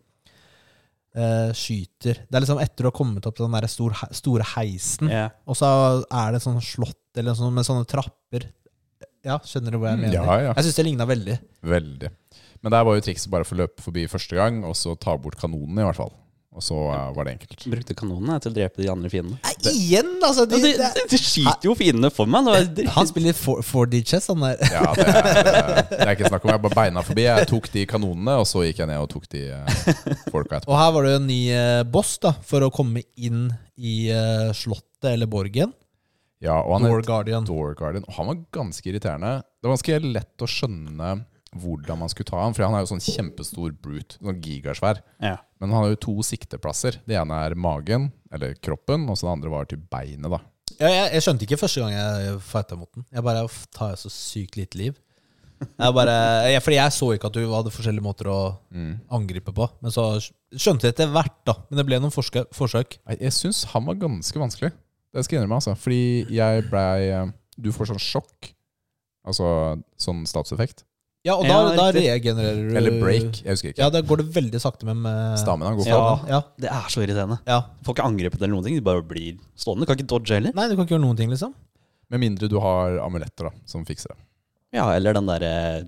Speaker 1: eh, skyter. Det er liksom etter å ha kommet opp til den derre stor, he- store heisen,
Speaker 3: Ja.
Speaker 1: og så er det et sånt slott eller sånn, med sånne trapper. Ja, skjønner du hva jeg
Speaker 2: Mm,
Speaker 1: mener?
Speaker 2: ja, ja.
Speaker 1: Jeg syns det ligna veldig.
Speaker 2: Veldig. Men der var jo trikset bare å få løpe forbi første gang, og så ta bort kanonene, i hvert fall. Og så eh, var det enkelt.
Speaker 3: Brukte kanonene til å drepe de andre fiendene.
Speaker 1: Nei, igjen, altså! De,
Speaker 3: Ja, det,
Speaker 1: det,
Speaker 3: det, det skiter jo fiendene for meg. Det var,
Speaker 1: han spiller 4D chess, han der.
Speaker 2: Ja, det er, det er ikke snakk om. Jeg bare beina forbi. Jeg tok de kanonene, og så gikk jeg ned og tok de eh, folka etterpå.
Speaker 1: Og her var det jo en ny eh, boss da, for å komme inn i eh, slottet eller borgen.
Speaker 2: Ja, og han
Speaker 1: Door
Speaker 2: het
Speaker 1: Guardian.
Speaker 3: Mm.
Speaker 2: Door Guardian. Og han var ganske irriterende. Det var ganske lett å skjønne hvordan man skulle ta ham, for han er jo sånn kjempestor brute, sånn gigasvær.
Speaker 3: ja.
Speaker 2: Men han har jo to sikteplasser. Det ene er magen, eller kroppen, og så det andre var til beinet, da.
Speaker 1: Ja, jeg, jeg skjønte ikke første gang jeg fighta mot den. Jeg bare "Uff, tar jeg så sykt lite liv. Jeg bare, jeg, fordi jeg så ikke at du hadde forskjellige måter å
Speaker 2: Mm.
Speaker 1: angripe på. Men så skjønte jeg etter hvert, da. Men det ble noen forske, forsøk.
Speaker 2: Nei, Jeg syns han var ganske vanskelig. Det skal jeg innrømme, altså. Fordi jeg blei eh, Du får sånn sjokk. Altså sånn statseffekt.
Speaker 1: Ja, og da,
Speaker 3: Ja,
Speaker 1: da
Speaker 3: riktig.
Speaker 1: regenererer du
Speaker 2: Eller break. Jeg husker ikke.
Speaker 1: Ja, da går det veldig sakte med, med
Speaker 2: Staminaen går
Speaker 3: Ja.
Speaker 2: for.
Speaker 1: Ja,
Speaker 3: Det er så irriterende.
Speaker 1: ja.
Speaker 3: Får ikke angrepet eller noen ting. De bare blir stående. Kan ikke dodge heller.
Speaker 1: Nei, du kan ikke gjøre noen ting, liksom.
Speaker 2: Med mindre du har amuletter da, som fikser det.
Speaker 3: Ja, eller den derre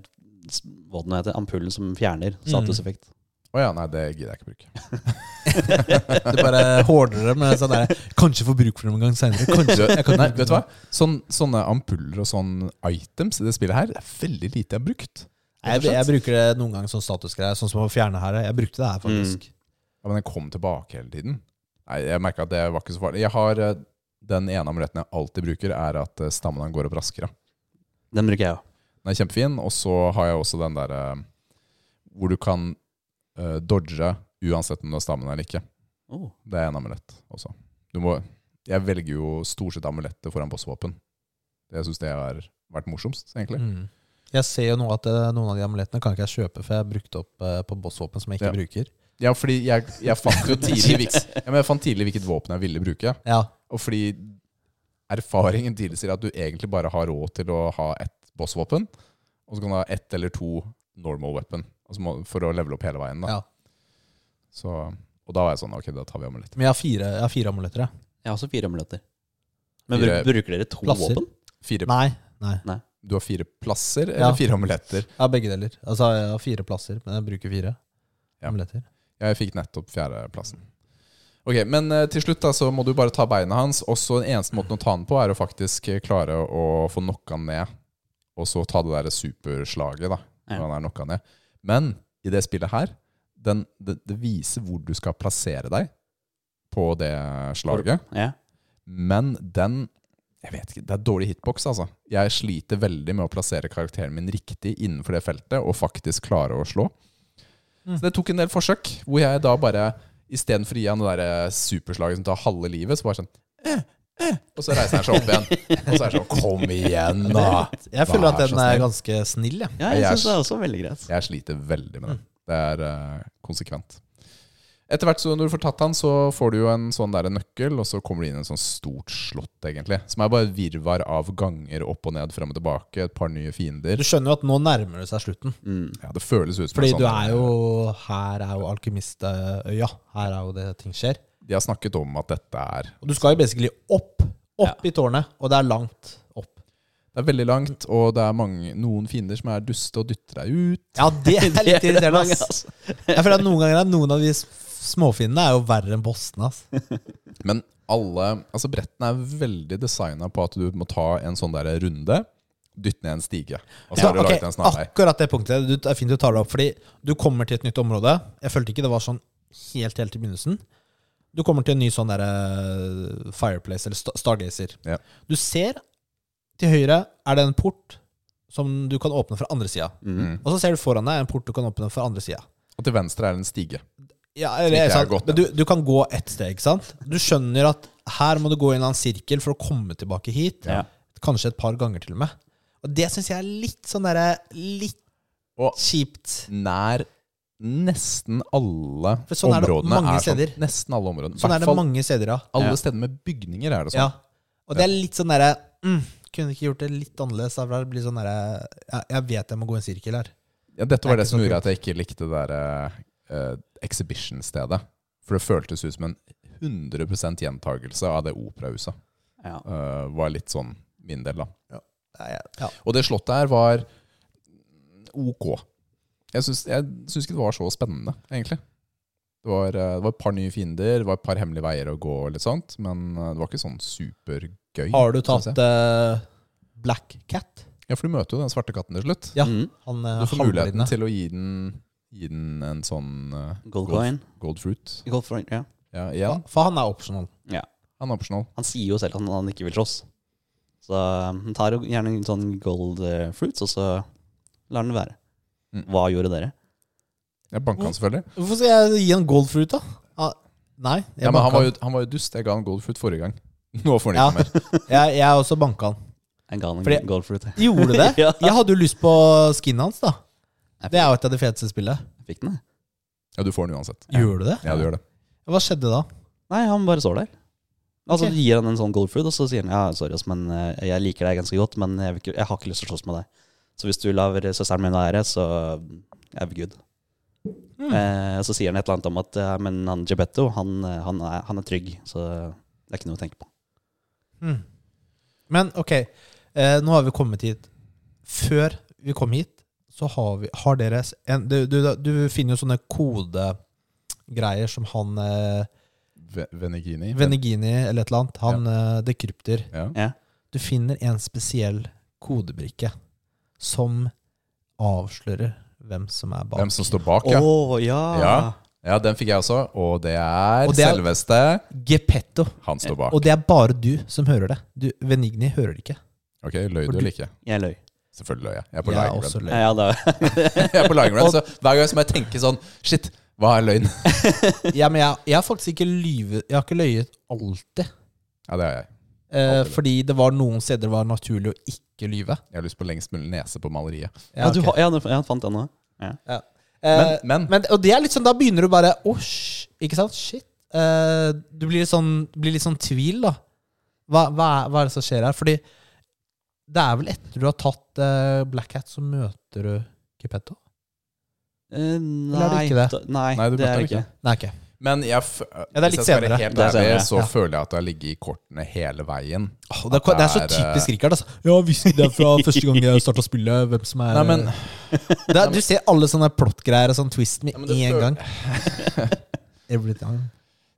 Speaker 3: hva den heter, ampullen som fjerner statuseffekt.
Speaker 2: Å ja, nei, det gidder jeg ikke bruke.
Speaker 1: Du bare hårder det med sånn der Kanskje får bruk for dem en gang seinere. Kanskje. Jeg kan
Speaker 2: Nei, vet du hva? Sånn, sånne ampuller og sånne items i det spillet her, det er veldig lite jeg har brukt.
Speaker 1: Nei, Jeg, jeg bruker det noen ganger som statusgreie, sånn som å fjerne her. Jeg brukte det
Speaker 2: Mm.
Speaker 1: her, faktisk.
Speaker 2: Ja, men den kom tilbake hele tiden. Nei, jeg merket at det var ikke så farlig. Jeg har eh, den ene amuletten jeg alltid bruker, er at eh, staminaen går opp raskere.
Speaker 3: Den bruker jeg òg.
Speaker 2: Den er kjempefin, og så har jeg også den der eh, hvor du kan eh, dodge uansett om du har stammen eller ikke.
Speaker 3: Oh.
Speaker 2: Det er en amulett også. Du må, jeg velger jo stort sett amuletter foran bossvåpen. Jeg synes det har vært morsomst, egentlig.
Speaker 1: Mm. Jeg ser jo nå at eh, noen av de amulettene kan ikke jeg kjøpe, for jeg brukte opp eh, på bossvåpen som jeg ikke
Speaker 2: Ja.
Speaker 1: bruker.
Speaker 2: Ja, fordi jeg, jeg fant jo tidlig, hvilk- ja, men jeg fant tidlig hvilket våpen jeg ville bruke.
Speaker 1: Ja,
Speaker 2: Og fordi erfaringen tilsier at du egentlig bare har råd til å ha ett bossvåpen, og så kan du ha ett eller to normal weapon altså må- for å levele opp hele veien. Da.
Speaker 1: ja.
Speaker 2: Så, og da var jeg sånn Ok, da tar vi amulett.
Speaker 1: Men jeg har fire, jeg har fire amuletter, jeg.
Speaker 3: Jeg har også fire amuletter. Men
Speaker 2: Fire-
Speaker 3: bru- bruker dere to
Speaker 1: Plasser.
Speaker 3: våpen?
Speaker 2: Fire,
Speaker 1: Nei, nei.
Speaker 2: du har fire plasser eller
Speaker 1: Ja.
Speaker 2: fire amuletter?
Speaker 1: Jeg har begge deler. Altså, jeg har fire plasser, men jeg bruker fire
Speaker 2: Ja.
Speaker 1: amuletter.
Speaker 2: Jeg fikk nettopp fjerdeplassen. Ok, Men eh, til slutt da, så må du bare ta beina hans. Og så den eneste måten å ta han på, er å faktisk eh, klare å få knocka han ned. Og så ta det der superslaget, da.
Speaker 3: Ja.
Speaker 2: Når han er knocka ned. Men i det spillet her, den, det, det viser hvor du skal plassere deg på det slaget.
Speaker 3: Ja.
Speaker 2: Men den jeg vet ikke, Det er dårlig hitbox, altså. Jeg sliter veldig med å plassere karakteren min riktig innenfor det feltet, og faktisk klare å slå.
Speaker 1: Mm.
Speaker 2: Så det tok en del forsøk, hvor jeg da bare Istedenfor å gi han det der eh, superslaget som tar halve livet, så bare sånn eh, eh, Og så reiser han seg opp igjen. Og så er det sånn Kom igjen, da!
Speaker 1: Jeg føler
Speaker 2: Vær
Speaker 1: at den
Speaker 2: så
Speaker 1: er
Speaker 2: snill.
Speaker 1: ganske snill, jeg.
Speaker 3: Ja, jeg
Speaker 2: Jeg er
Speaker 3: syns det er også veldig greit.
Speaker 2: Jeg sliter veldig
Speaker 1: Mm.
Speaker 2: med det. Det er eh, konsekvent. Etter hvert så når du får tatt han, så får du jo en sånn der nøkkel, og så kommer du inn i en sånn stort slott, egentlig. Som er bare et virvar av ganger opp og ned, frem og tilbake, et par nye fiender.
Speaker 1: Du skjønner jo at nå nærmer det seg slutten.
Speaker 3: Mm.
Speaker 2: Ja, det føles ut som
Speaker 1: Fordi
Speaker 2: en
Speaker 1: du
Speaker 2: sånn-
Speaker 1: er jo Her er jo alkymistøya. Her er jo det ting skjer.
Speaker 2: De har snakket om at dette er
Speaker 1: Og du skal jo basically opp. Opp i tårnet. Og det er langt opp.
Speaker 2: Det er veldig langt, og det er mange, noen fiender som er duste og dytter deg ut.
Speaker 1: Ja, det er altså. litt irriterende,
Speaker 3: mange,
Speaker 1: ass. Jeg føler at noen ganger er noen av de s- småfinnene er jo verre enn bossene, ass.
Speaker 2: Men alle Altså, brettene er veldig designa på at du må ta en sånn der runde, dytte ned en stige, og så
Speaker 1: Ja,
Speaker 2: har du
Speaker 1: ok,
Speaker 2: laget en snarvei.
Speaker 1: Akkurat det punktet. Du, det er fint du tar det opp, fordi du kommer til et nytt område. Jeg følte ikke det var sånn helt helt i begynnelsen. Du kommer til en ny sånn der, eh, fireplace, eller sta- stargazer.
Speaker 2: Ja.
Speaker 1: Du ser til høyre er det en port som du kan åpne fra andre sida.
Speaker 3: Mm.
Speaker 1: Og så ser du foran deg en port du kan åpne fra andre sida.
Speaker 2: Og til venstre er det en stige.
Speaker 1: Ja,
Speaker 2: Som ikke
Speaker 1: eller,
Speaker 2: er
Speaker 1: sant?
Speaker 2: godt,
Speaker 1: Men du, du kan gå ett steg, ikke sant? Du skjønner at her må du gå i en annen sirkel for å komme tilbake hit.
Speaker 3: Ja.
Speaker 1: Kanskje et par ganger til og med. Og det syns jeg er litt sånn derre Litt
Speaker 2: Og-
Speaker 1: kjipt.
Speaker 2: Nær nesten alle
Speaker 1: For sånn er det
Speaker 2: områdene
Speaker 1: mange
Speaker 2: er sånn.
Speaker 1: steder.
Speaker 2: Nesten alle områdene. I
Speaker 1: Sånn
Speaker 2: hvert
Speaker 1: er det
Speaker 2: fall
Speaker 1: mange steder, ja.
Speaker 2: alle
Speaker 3: Ja.
Speaker 2: steder med bygninger er det
Speaker 1: ja.
Speaker 2: sånn.
Speaker 1: Og det er litt sånn derre mm, Kunne ikke gjort det litt annerledes. da, for Det blir sånn derre jeg, jeg vet jeg må gå en sirkel her.
Speaker 2: Ja, dette
Speaker 1: Det
Speaker 2: var
Speaker 1: er
Speaker 2: det,
Speaker 1: ikke
Speaker 2: som
Speaker 1: så
Speaker 2: gjorde at jeg ikke likte det der eh, exhibition-stedet. For det føltes ut som en 100 gjentagelse av det operahuset.
Speaker 3: Ja.
Speaker 2: Eh, var litt sånn min del, da.
Speaker 1: Ja, ja, ja.
Speaker 2: Og det slottet her var ok. Jeg syns, jeg syns ikke det var så spennende, egentlig. Det var, eh, det var et par nye fiender, det var et par hemmelige veier å gå, og litt sånt, men eh, det var ikke sånn supergøy.
Speaker 1: Har du
Speaker 2: synes
Speaker 1: tatt
Speaker 2: jeg.
Speaker 1: eh, Black Cat?
Speaker 2: Ja, for du møter jo den svarte katten til slutt.
Speaker 1: Ja.
Speaker 3: Mm.
Speaker 1: Han eh,
Speaker 2: Du får muligheten
Speaker 1: halvblinde.
Speaker 2: til å gi den, gi den en sånn eh,
Speaker 3: Gold coin.
Speaker 2: gold fruit.
Speaker 3: Gold coin, ja.
Speaker 2: Ja, igjen.
Speaker 1: For han er optional.
Speaker 2: Han er optional.
Speaker 3: Han sier jo selv at han ikke vil slåss. Så um, han tar jo gjerne en sånn gold eh, fruits, og så lar den være.
Speaker 2: Mm.
Speaker 3: Hva gjorde dere?
Speaker 2: Jeg banka han selvfølgelig.
Speaker 1: Hvorfor skal jeg gi han gold fruit, da? Ah, nei. Jeg,
Speaker 2: Ja, men han
Speaker 1: banka
Speaker 2: var, jo, han var jo dust. Jeg ga han gold fruit forrige gang. Nå får han ikke mer.
Speaker 1: jeg, jeg også banka han.
Speaker 3: Jeg ga han en
Speaker 1: Fordi-
Speaker 3: gold fruit. jeg.
Speaker 1: Gjorde det?
Speaker 3: Ja.
Speaker 1: Jeg hadde jo lyst på skinnet hans, da.
Speaker 3: Jeg
Speaker 1: Det er
Speaker 3: fikk,
Speaker 1: jo et av de feteste spillet.
Speaker 3: jeg fikk den, jeg.
Speaker 2: Ja, du får den uansett.
Speaker 1: Gjorde du det?
Speaker 2: Ja, du gjør det.
Speaker 1: Hva skjedde da?
Speaker 3: Nei, han bare står der. Altså
Speaker 1: Ok.
Speaker 3: du Gir han en sånn gold fruit, og så sier han ja, sorry, ass, men eh, jeg liker deg ganske godt, men jeg, vil ikke, jeg har ikke lyst til å slåss med deg. Så hvis du lar søsteren min være, så er vi good.
Speaker 1: Mm.
Speaker 3: Eh, så sier han et eller annet om at eh, men han Gebetto, han, eh, han, er, han er trygg, så det er ikke noe å tenke på.
Speaker 1: Mm. Men ok, eh, nå har vi kommet hit. Før vi kom hit, så har, vi, har dere s- en, du, du, du finner jo sånne kodegreier som han eh,
Speaker 2: Ve- Venegini.
Speaker 1: Venegini eller et eller annet, han eh, dekrypter.
Speaker 2: Ja.
Speaker 1: Du finner en spesiell kodebrikke som avslører hvem som er bak.
Speaker 2: Hvem som står bak,
Speaker 3: Å,
Speaker 2: ja.
Speaker 3: ja.
Speaker 2: Ja. Ja, den fikk jeg også. Og det er,
Speaker 1: Og det er-
Speaker 2: selveste
Speaker 1: Gepetto.
Speaker 2: Han står bak.
Speaker 1: Og det er bare du som hører det. Du, Venigni hører det ikke.
Speaker 2: Ok, Løy du
Speaker 1: Og du-
Speaker 2: eller ikke?
Speaker 3: Jeg løy.
Speaker 2: Selvfølgelig løy jeg. Jeg er på
Speaker 1: Jeg er
Speaker 2: lagring.
Speaker 1: også løy.
Speaker 3: Ja, ja, da.
Speaker 2: Jeg er på lagring, så Hver gang som jeg tenker sånn Shit, hva er løgn?
Speaker 1: Ja, men jeg, jeg har faktisk ikke lyvet Jeg har ikke løyet alltid.
Speaker 2: Ja, det har jeg.
Speaker 1: Eh,
Speaker 2: Alltid.
Speaker 1: fordi det var noen steder det var naturlig å ikke lyve.
Speaker 2: Jeg har lyst på lengst mulig nese på maleriet.
Speaker 3: Ja, du,
Speaker 1: ok.
Speaker 3: har- ja, du- ja, fant den nå.
Speaker 1: Eh,
Speaker 2: Men- men-
Speaker 1: Og det er litt sånn, da begynner du bare Åh, sh- ikke sant? Shit. Eh, du blir litt sånn, blir litt sånn tvil, da. Hva, hva, er, hva er det som skjer her? Fordi det er vel etter du har tatt eh, Black Hat, så møter du Kipetto?
Speaker 3: Eh,
Speaker 1: Eller er
Speaker 3: nei,
Speaker 1: det ikke det?
Speaker 3: da- nei,
Speaker 2: Nei, du
Speaker 3: det
Speaker 2: møtte
Speaker 3: er
Speaker 2: den
Speaker 3: det ikke.
Speaker 1: Nei, ikke.
Speaker 2: Men jeg f
Speaker 1: det er litt
Speaker 2: hvis jeg skal være
Speaker 1: senere.
Speaker 2: Helt
Speaker 3: Det er
Speaker 2: ærlig,
Speaker 3: senere,
Speaker 2: så
Speaker 1: ja.
Speaker 2: føler jeg at det har ligget i kortene hele veien.
Speaker 1: Åh, det, er, det er så
Speaker 2: Det er, eh,
Speaker 1: typisk Rikard. Altså. Ja, visste det fra første gang jeg starta å spille. Hvem som er
Speaker 2: Nei, men
Speaker 1: det er, Du ser alle sånne plot-greier og sånn twist med
Speaker 2: Ja, men det
Speaker 1: én
Speaker 2: føl-
Speaker 1: gang. Every time.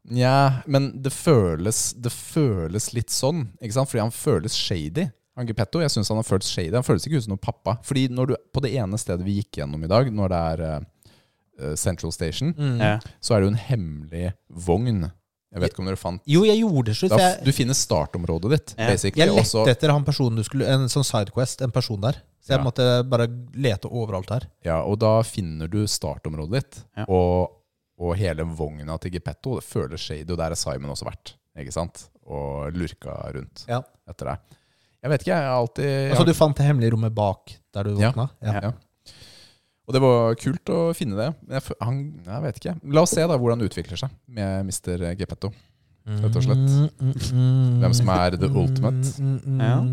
Speaker 2: Nja, men det føles, det føles litt sånn, ikke sant? Fordi han føles shady. Han Gepetto, jeg synes han har følt shady. Han føles ikke ut som noen pappa. Fordi når du, på det ene stedet vi gikk gjennom i dag, når det er eh, Central Station,
Speaker 1: Mm.
Speaker 3: Ja.
Speaker 2: så er det jo en hemmelig vogn. Jeg vet ikke om dere fant
Speaker 1: Jo, jeg gjorde det slutt.
Speaker 2: da,
Speaker 1: for
Speaker 2: f-
Speaker 1: jeg,
Speaker 2: Du finner startområdet ditt,
Speaker 3: Ja.
Speaker 2: basically.
Speaker 1: Jeg
Speaker 2: og
Speaker 1: lette
Speaker 2: så-
Speaker 1: etter han personen du skulle En sånn sidequest, en person der. Så jeg
Speaker 2: Ja.
Speaker 1: måtte bare lete overalt her.
Speaker 2: ja, og da finner du startområdet ditt.
Speaker 3: Ja.
Speaker 2: Og, og hele vogna til Geppetto. Det føler shady, og der er Simon også vært. Ikke sant? Og lurka rundt
Speaker 1: Ja.
Speaker 2: etter det. Jeg vet ikke, jeg har alltid jeg
Speaker 1: Altså,
Speaker 2: har-
Speaker 1: du fant det hemmelige rommet bak der du
Speaker 2: Ja.
Speaker 1: våkna?
Speaker 2: ja. Og det var kult å finne det. Men jeg, fø- han, jeg vet ikke. La oss se da hvordan det utvikler seg med Mr. Geppetto. Rett og slett. Hvem som er the ultimate.
Speaker 1: Ja.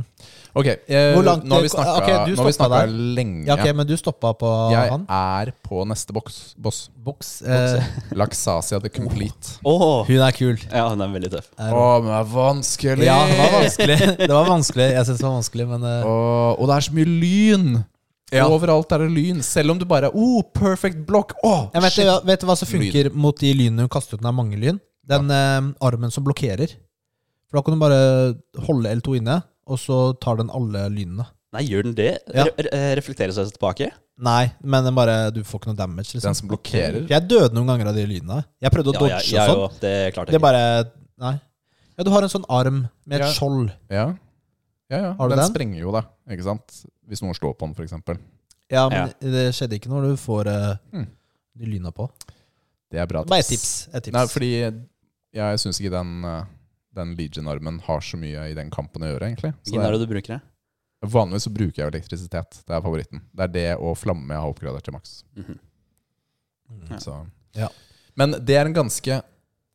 Speaker 2: Ok, eh,
Speaker 1: Hvor langt-
Speaker 2: nå har vi snakka,
Speaker 1: ok, du
Speaker 2: nå har vi
Speaker 1: stoppa der.
Speaker 2: snakka lenge.
Speaker 1: ja, ok, men du stoppa på
Speaker 2: Jeg
Speaker 1: han?
Speaker 2: er på neste boks, boss.
Speaker 1: Boks. Eh,
Speaker 2: Laxasia the Complete.
Speaker 3: Åh!
Speaker 1: hun er kul.
Speaker 3: Ja, hun er veldig tøff.
Speaker 2: Å, men det er vanskelig!
Speaker 1: Ja, det var vanskelig. Det var vanskelig. Jeg syns det var vanskelig, men eh,
Speaker 2: Åh, og det er så mye lyn!
Speaker 1: Ja.
Speaker 2: Overalt er det lyn. Selv om du bare Oh, perfect block! Åh,
Speaker 1: jeg vet,
Speaker 2: shit!
Speaker 1: du- vet du hva som funker mot de lynene hun kastet? Den er mange lyn. Den eh, armen som blokkerer. For da kan du bare holde L2 inne, og så tar den alle lynene.
Speaker 3: Nei, gjør den det?
Speaker 1: Ja.
Speaker 3: Re re- reflekterer seg tilbake?
Speaker 1: Nei, men den bare, du får ikke noe damage. Liksom.
Speaker 2: Den som blokkerer.
Speaker 1: Jeg døde noen ganger av de lynene. Jeg prøvde å
Speaker 3: Ja,
Speaker 1: dodge
Speaker 3: jeg, jeg,
Speaker 1: og sånn.
Speaker 3: jo, det klarte
Speaker 1: Det er
Speaker 3: jeg ikke.
Speaker 1: bare Nei. Ja, du har en sånn arm med et
Speaker 2: Ja.
Speaker 1: skjold.
Speaker 2: Ja. ja, ja.
Speaker 1: Har du
Speaker 2: den,
Speaker 1: den?
Speaker 2: sprenger jo, da. Ikke sant? Hvis noen slår på den, f.eks.
Speaker 1: Ja, men det skjedde ikke når du får eh,
Speaker 2: Hmm.
Speaker 1: de lyna på.
Speaker 2: Det er bra
Speaker 1: Bare et tips. Et tips.
Speaker 2: Nei, fordi jeg syns ikke den, eh, den Legion-armen har så mye i den kampen å gjøre, egentlig. Så
Speaker 3: Hvilken er
Speaker 2: det
Speaker 3: det du bruker? det?
Speaker 2: er, vanligvis så bruker jeg jo elektrisitet. Det er favoritten. Det er det og flamme jeg har oppgradert til maks.
Speaker 3: Mhm. Ja.
Speaker 2: Så.
Speaker 1: Ja.
Speaker 2: Men det er en ganske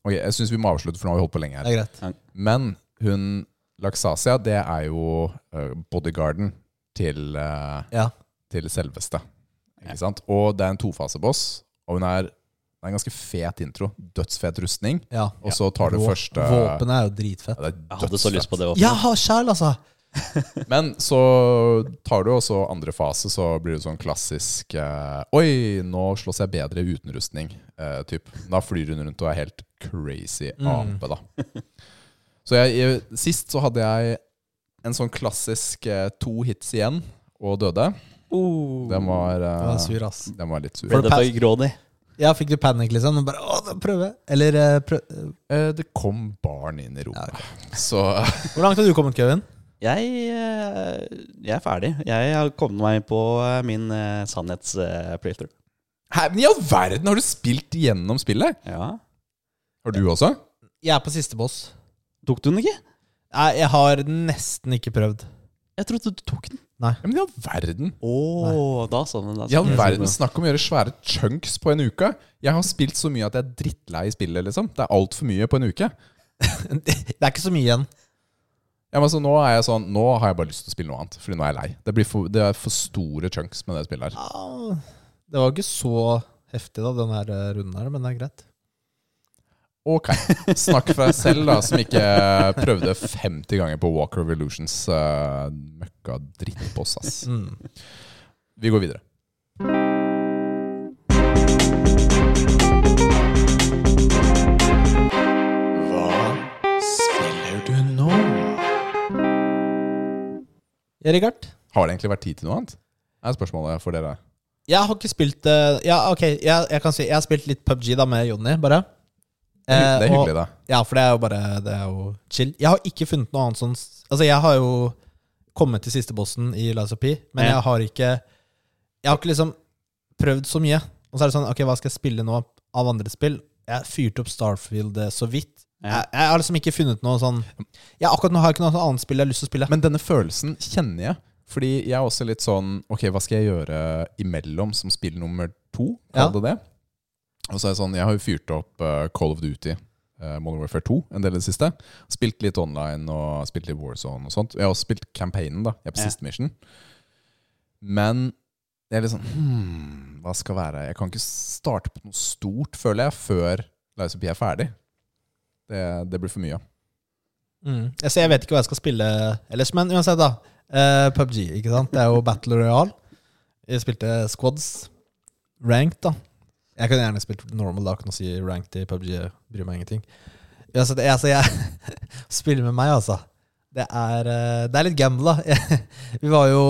Speaker 2: Ok, jeg syns vi må avslutte, for nå har vi holdt på lenge
Speaker 1: det
Speaker 2: her.
Speaker 1: er greit.
Speaker 2: Men hun Laksasia, det er jo eh, bodyguarden til eh,
Speaker 1: Ja.
Speaker 2: til selveste.
Speaker 3: Ja.
Speaker 2: Ikke sant? Og det er en tofaseboss, og hun er, det er en ganske fet intro. Dødsfet rustning,
Speaker 1: Ja.
Speaker 2: og så tar du
Speaker 1: Vå-
Speaker 2: første
Speaker 1: Våpenet er jo dritfett.
Speaker 2: ja, det
Speaker 3: Jeg
Speaker 2: er
Speaker 3: hadde så lyst på det.
Speaker 1: Jeg har sjæl, altså!
Speaker 2: dødsfett. Men så tar du også andre fase, så blir det sånn klassisk eh, Oi, nå slåss jeg bedre uten rustning. eh, typ. Da flyr hun rundt og er helt crazy
Speaker 1: Mm.
Speaker 2: ape, da. Så jeg, jeg, sist så hadde jeg en sånn klassisk eh, to hits igjen, og døde. Den var, eh,
Speaker 1: Jeg er sur, ass.
Speaker 2: den var litt sur.
Speaker 1: For
Speaker 3: Ble det
Speaker 1: pass-
Speaker 3: for grådig?
Speaker 1: Ja, fikk du panikk, liksom? Bare, å, da prøver jeg. Eller eh, prøv...
Speaker 2: Eh, Det kom barn inn i rommet. Så
Speaker 1: Hvor langt har du kommet, Kevin?
Speaker 3: Jeg, eh, jeg er ferdig. Jeg har kommet meg på eh, min sannhets-playthrough.
Speaker 2: Hæ, Men i all verden, har du spilt gjennom spillet?
Speaker 3: Ja.
Speaker 2: Har du også?
Speaker 1: Jeg er på siste boss.
Speaker 3: Tok du den ikke?
Speaker 1: Nei, jeg har nesten ikke prøvd.
Speaker 3: Jeg trodde du tok den.
Speaker 2: Ja, men i all verden.
Speaker 3: Å, da sa den da
Speaker 2: I
Speaker 3: sa
Speaker 2: all
Speaker 3: den.
Speaker 2: verden, Snakk om å gjøre svære chunks på en uke. Jeg har spilt så mye at jeg er drittlei spillet. liksom Det er altfor mye på en uke.
Speaker 1: det er ikke så mye igjen.
Speaker 2: Ja, men altså, nå er jeg sånn Nå har jeg bare lyst til å spille noe annet, fordi nå er jeg lei. Det, blir for, det er for store chunks med det spillet her.
Speaker 1: Ah, Det var ikke så heftig, da, den her eh, runden her, men det er greit.
Speaker 2: Ok, Snakk for deg selv, da, som ikke eh, prøvde 50 ganger på Walker Revolutions uh, møkka drittboss, ass.
Speaker 1: Mm.
Speaker 2: Vi går videre. Hva spiller du nå?
Speaker 1: Richard?
Speaker 2: Har det egentlig vært tid til noe annet? Er spørsmålet for dere.
Speaker 1: Jeg har ikke spilt eh, Ja, ok, jeg, jeg kan si Jeg har spilt litt PubG da med Jonny, bare.
Speaker 2: Det er hy- det er
Speaker 1: Eh,
Speaker 2: hyggelig, da.
Speaker 1: Og, ja, for det er jo bare Det er jo chill. Jeg har ikke funnet noe annet sånn s- Altså, jeg har jo kommet til siste bossen i Lies of P, men
Speaker 3: Ja.
Speaker 1: jeg har ikke Jeg har ikke liksom prøvd så mye. Og så er det sånn Ok, hva skal jeg spille nå av andre spill? Jeg fyrte opp Starfield eh, så vidt.
Speaker 3: Ja.
Speaker 1: Jeg, jeg har liksom ikke funnet noe sånn Ja, akkurat nå har jeg ikke noe annet spill jeg har lyst til å spille.
Speaker 2: Men denne følelsen kjenner jeg. Fordi jeg er også litt sånn Ok, hva skal jeg gjøre imellom som spill nummer to? Kall
Speaker 1: Ja.
Speaker 2: det det. Og så er jeg sånn Jeg har jo fyrt opp eh, Call of Duty, uh, Modern Warfare 2, en del i det siste. Spilt litt online og spilt litt Warzone og sånt. Jeg har også spilt campaignen, da. Jeg er på
Speaker 3: Ja.
Speaker 2: siste mission. Men jeg er litt sånn hmm, Hva skal være Jeg kan ikke starte på noe stort, føler jeg, før Lies of P er ferdig. Det, det blir for mye.
Speaker 1: Mm. Altså, jeg vet ikke hva jeg skal spille ellers, men uansett, da. Eh, PubG, ikke sant. Det er jo Battle Royale. Jeg spilte squads. Ranked, da. Jeg kunne gjerne spilt normal, da. Kan si ranked i PubG. jeg Bryr meg ingenting. Uansett, jeg, altså, jeg spiller med meg, altså. Det er, eh, det er litt gamble, da. Jeg- Vi var jo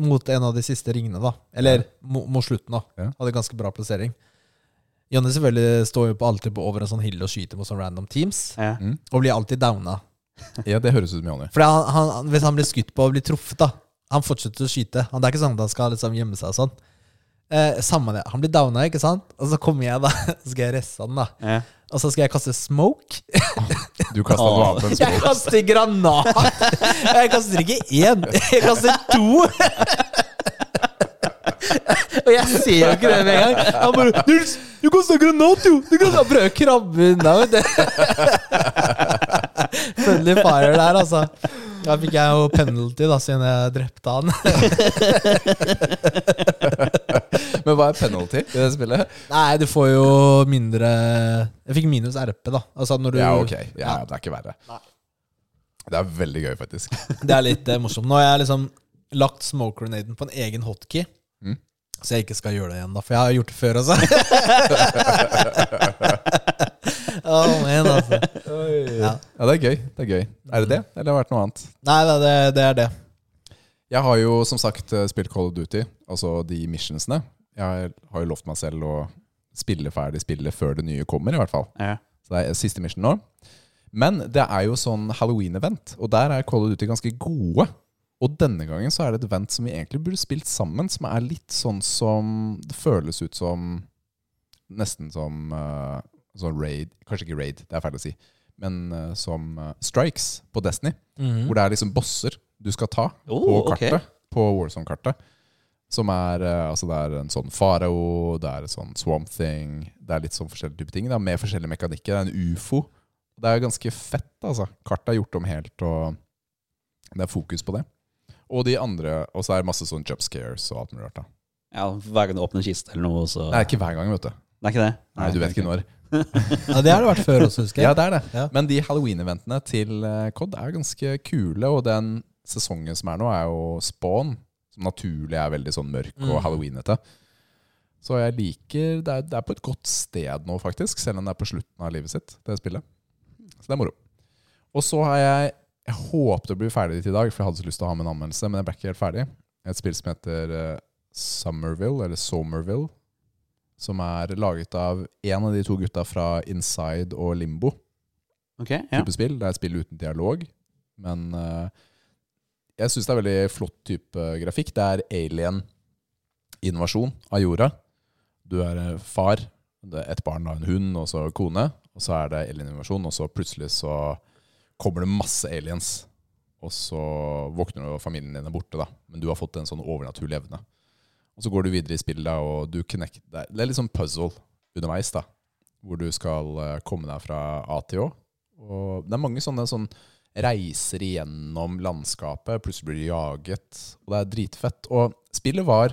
Speaker 1: mot en av de siste ringene, da. Eller mo- mot slutten, da.
Speaker 2: Ja.
Speaker 1: Hadde ganske bra plassering. Jonny selvfølgelig står jo på alltid på over en sånn hill og skyter mot sånn random teams.
Speaker 3: Ja.
Speaker 1: Og blir alltid downa.
Speaker 2: Ja, det høres ut som Jonny.
Speaker 1: For han, han, han- hvis han blir skutt på og blir truffet, da Han fortsetter å skyte. Han, det er ikke sånn at han skal liksom gjemme seg og sånn. Eh, samme det. Han blir downa, ikke sant? Og så kommer jeg, da. Så skal jeg resse han, da.
Speaker 3: Ja.
Speaker 1: Og så skal jeg kaste smoke.
Speaker 2: Du kasta et
Speaker 3: Åh.
Speaker 2: vapen.
Speaker 1: Jeg kaster granat! Jeg kaster ikke én, jeg kaster to! Og jeg ser jo ikke det med en gang. Han bare 'Nils, du kasta granat, jo!' Du kan prøve å krabbe unna, vet du. Friendly fire der, altså. Da fikk jeg jo penalty, da, siden jeg drepte han.
Speaker 2: Men hva er penalty i det spillet?
Speaker 1: Nei, du får jo mindre Jeg fikk minus RP, da. Altså når du
Speaker 2: Ja, ok. Ja, det er ikke verre. Det er veldig gøy, faktisk.
Speaker 1: Det er litt eh, morsomt. Nå har jeg liksom lagt smoke grenaden på en egen hotkey.
Speaker 2: Mm.
Speaker 1: Så jeg ikke skal gjøre det igjen, da. For jeg har gjort det før, altså. oh, man, altså. Ja.
Speaker 2: Ja, det er gøy. det Er gøy Er det det, eller har det vært noe annet?
Speaker 1: Nei da, det, det er det.
Speaker 2: Jeg har jo som sagt eh, spilt Call of Duty, altså de missionsene. Jeg har jo lovt meg selv å spille ferdig spillet før det nye kommer, i hvert fall.
Speaker 3: Ja.
Speaker 2: Så det er siste mission nå. Men det er jo sånn Halloween-event, og der er Call of Duty ganske gode. Og denne gangen så er det et event som vi egentlig burde spilt sammen, som er litt sånn som Det føles ut som Nesten som eh, sånn raid Kanskje ikke raid, det er feil å si. Men eh, som eh, strikes på Destiny,
Speaker 1: Mm.
Speaker 3: Mhm.
Speaker 2: hvor det er liksom bosser du skal ta på
Speaker 3: Oh, ok.
Speaker 2: kartet. På Warzone-kartet. Som er eh, Altså, det er en sånn farao, det er en sånn swamp thing Det er litt sånn forskjellige typer ting. Da, med forskjellige mekanikker. Det er en ufo. Det er ganske fett, altså. Kartet er gjort om helt, og det er fokus på det. Og de andre Og så er det masse sånn jump scares og alt mulig rart. da
Speaker 3: ja, hver gang du åpner en kiste eller noe, så
Speaker 2: Det er ikke hver gang, vet du.
Speaker 3: Det er ikke det?
Speaker 2: Nei, du vet ikke når.
Speaker 1: Ja, det har det vært før også, husker jeg.
Speaker 2: Ja, det er det.
Speaker 1: Ja.
Speaker 2: Men de Halloween-eventene til eh, COD er ganske kule, og den sesongen som er nå, er jo Spawn, som naturlig er veldig sånn mørk og
Speaker 1: Mm.
Speaker 2: halloweenete. Så jeg liker det er, det er på et godt sted nå, faktisk, selv om det er på slutten av livet sitt, det spillet. Så det er moro. Og så har jeg Jeg håpet å bli ferdig dit i dag, for jeg hadde så lyst til å ha med en anmeldelse, men jeg ble ikke helt ferdig. Et spill som heter eh, Somerville, eller Somerville, som er laget av en av de to gutta fra Inside og Limbo
Speaker 3: Ok, ja.
Speaker 2: type spill. Det er et spill uten dialog, men eh, jeg syns det er veldig flott type eh, grafikk. Det er alien-invasjon av jorda. Du er eh, far, det er et barn og en hund, og så kone. Og så er det alien-invasjon, og så plutselig så kommer det masse aliens. Og så våkner du, og familien din er borte, da. Men du har fått en sånn overnaturlig evne. Og så går du videre i spillet, og du connect, det er- det er litt sånn puzzle underveis, da. Hvor du skal eh, komme deg fra A til Å. Og det er mange sånne, sånn reiser igjennom landskapet, plutselig blir de jaget, og det er dritfett. Og spillet var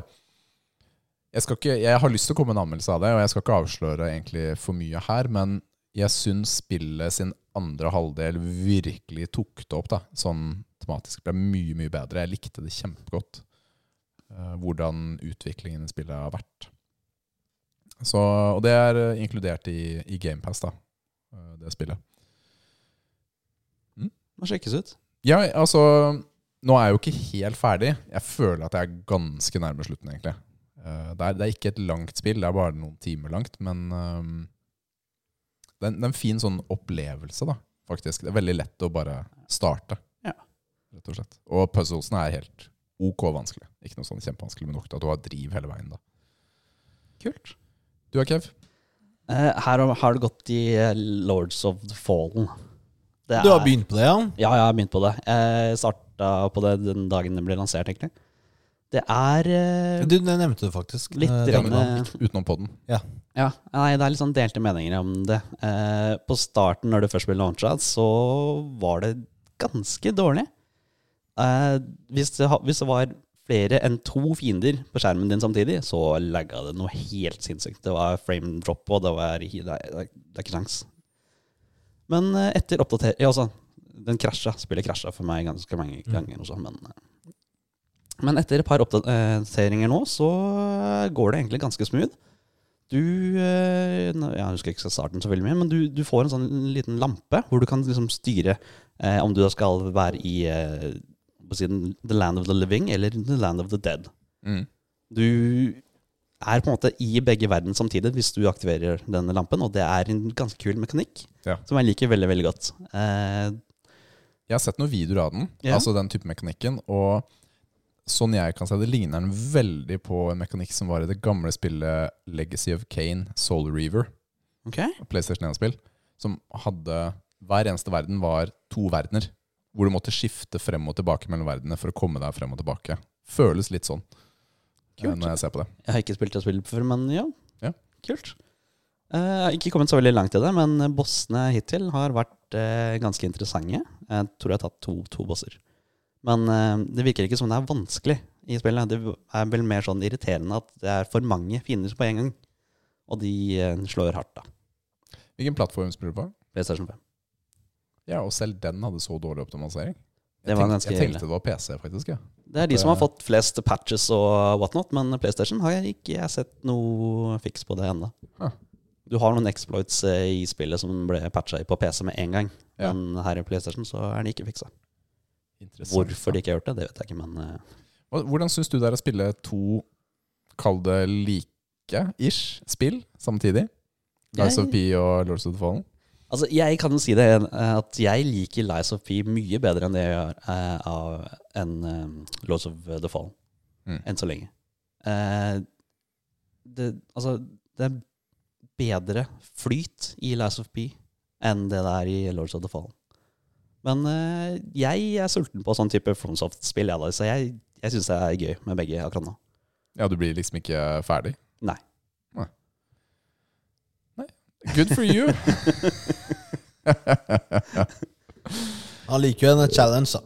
Speaker 2: jeg, skal ikke, jeg har lyst til å komme med en anmeldelse av det, og jeg skal ikke avsløre egentlig for mye her, men jeg syns spillet sin andre halvdel virkelig tok det opp, da. Sånn tematisk ble mye, mye bedre. Jeg likte det kjempegodt. eh, Hvordan utviklingen i spillet har vært. Så, og det er eh, inkludert i, i GamePass, da. eh, Det spillet.
Speaker 3: Må sjekkes ut.
Speaker 2: Ja, altså Nå er jeg jo ikke helt ferdig. Jeg føler at jeg er ganske nærme slutten, egentlig. Eh, Det er, det er ikke et langt spill, det er bare noen timer langt, men ehm, det, er en, det er en fin sånn opplevelse, da, faktisk. Det er veldig lett å bare starte,
Speaker 3: Ja.
Speaker 2: rett og slett. Og puzzlesene er helt OK vanskelig. Ikke noe sånn kjempevanskelig, men nok til at du har driv hele veien, da. Kult. Du da, Kev?
Speaker 3: Eh, her har- har det gått i eh, Lords of the Fallen. Det
Speaker 1: Du har
Speaker 3: er-
Speaker 1: begynt på det, ja?
Speaker 3: Ja, jeg har begynt på det. Jeg starta på det den dagen det ble lansert, egentlig. Det er eh,
Speaker 1: Du det nevnte det faktisk.
Speaker 3: Litt
Speaker 1: eh,
Speaker 3: grann,
Speaker 1: dagen da.
Speaker 3: eh,
Speaker 2: Utenom podden.
Speaker 3: Ja, nei, det er litt sånn delte meninger om det. Eh, på starten, når det først ble launcha, så var det ganske dårlig. Eh, hvis, det, ha- hvis det var flere enn to fiender på skjermen din samtidig, så lagga det noe helt sinnssykt. Det var frame drop, og det var Det er, det er ikke kjangs. Men eh, etter oppdater... Ja, altså, den krasja. Spillet krasja for meg ganske mange ganger også, men eh, men etter et par oppdateringer nå, så eh, går det egentlig ganske smooth. Du eh, nå- Jeg husker ikke starten så veldig mye, men du, du får en sånn liten lampe hvor du kan liksom styre eh, om du da skal være i eh, på siden The Land of the Living eller The Land of the Dead.
Speaker 2: Mm.
Speaker 3: Du er på en måte i begge verden samtidig hvis du aktiverer denne lampen, og det er en ganske kul mekanikk
Speaker 2: Ja.
Speaker 3: som jeg liker veldig, veldig godt. Eh,
Speaker 2: Jeg har sett noen videoer av den,
Speaker 3: Ja.
Speaker 2: altså den type mekanikken, og sånn jeg kan se det, ligner den veldig på en mekanikk som var i det gamle spillet Legacy of Kane, Soul Reaver,
Speaker 3: Ok?
Speaker 2: PlayStation 1-spill, som hadde Hver eneste verden var to verdener, hvor du måtte skifte frem og tilbake mellom verdenene for å komme deg frem og tilbake. Føles litt sånn eh,
Speaker 3: Kult.
Speaker 2: når jeg ser på det.
Speaker 3: Jeg har ikke spilt det spillet før, men ja.
Speaker 2: Ja.
Speaker 3: Kult. Eh, Jeg har ikke kommet så veldig langt i det, men bossene hittil har vært eh, ganske interessante. Jeg tror jeg har tatt to, to bosser. Men eh, det virker ikke som det er vanskelig i spillet. Det er vel mer sånn irriterende at det er for mange fiender på en gang. Og de eh, slår hardt, da.
Speaker 2: Hvilken plattform spiller du på?
Speaker 3: PlayStation 5.
Speaker 2: Ja, og selv den hadde så dårlig optimalisering.
Speaker 3: Det
Speaker 2: Jeg
Speaker 3: var
Speaker 2: tenkte,
Speaker 3: ganske
Speaker 2: jeg
Speaker 3: ille.
Speaker 2: tenkte det var PC, faktisk. Ja.
Speaker 3: Det er de som
Speaker 2: Eh.
Speaker 3: har fått flest patches og whatnot, men PlayStation har jeg ikke jeg sett noe fiks på det ennå.
Speaker 2: Huh.
Speaker 3: Du har noen exploits eh, i spillet som ble patcha på PC med en gang,
Speaker 2: Ja.
Speaker 3: men her i PlayStation så er det ikke fiksa.
Speaker 2: Interessant.
Speaker 3: Hvorfor de ikke har gjort det, det vet jeg ikke, men eh,
Speaker 2: Og Hvordan syns du det er å spille to, kall det like-ish, spill samtidig? Lies of P og Lords of the Fallen?
Speaker 3: Altså, jeg kan jo si det eh, at jeg liker Lies of P mye bedre enn det jeg gjør eh, av enn eh, Lords of the Fall,
Speaker 2: Mm.
Speaker 3: enn så lenge. Eh, det, altså, det er bedre flyt i Lies of P enn det det er i Lords of the Fall. Men eh, jeg er sulten på sånn type FromSoft-spill, jeg da, så jeg, jeg syns det er gøy med begge akkurat nå.
Speaker 2: Ja, du blir liksom ikke ferdig?
Speaker 3: Nei.
Speaker 2: Nei. Nei. Good for you!
Speaker 1: Han liker jo en challenge, da.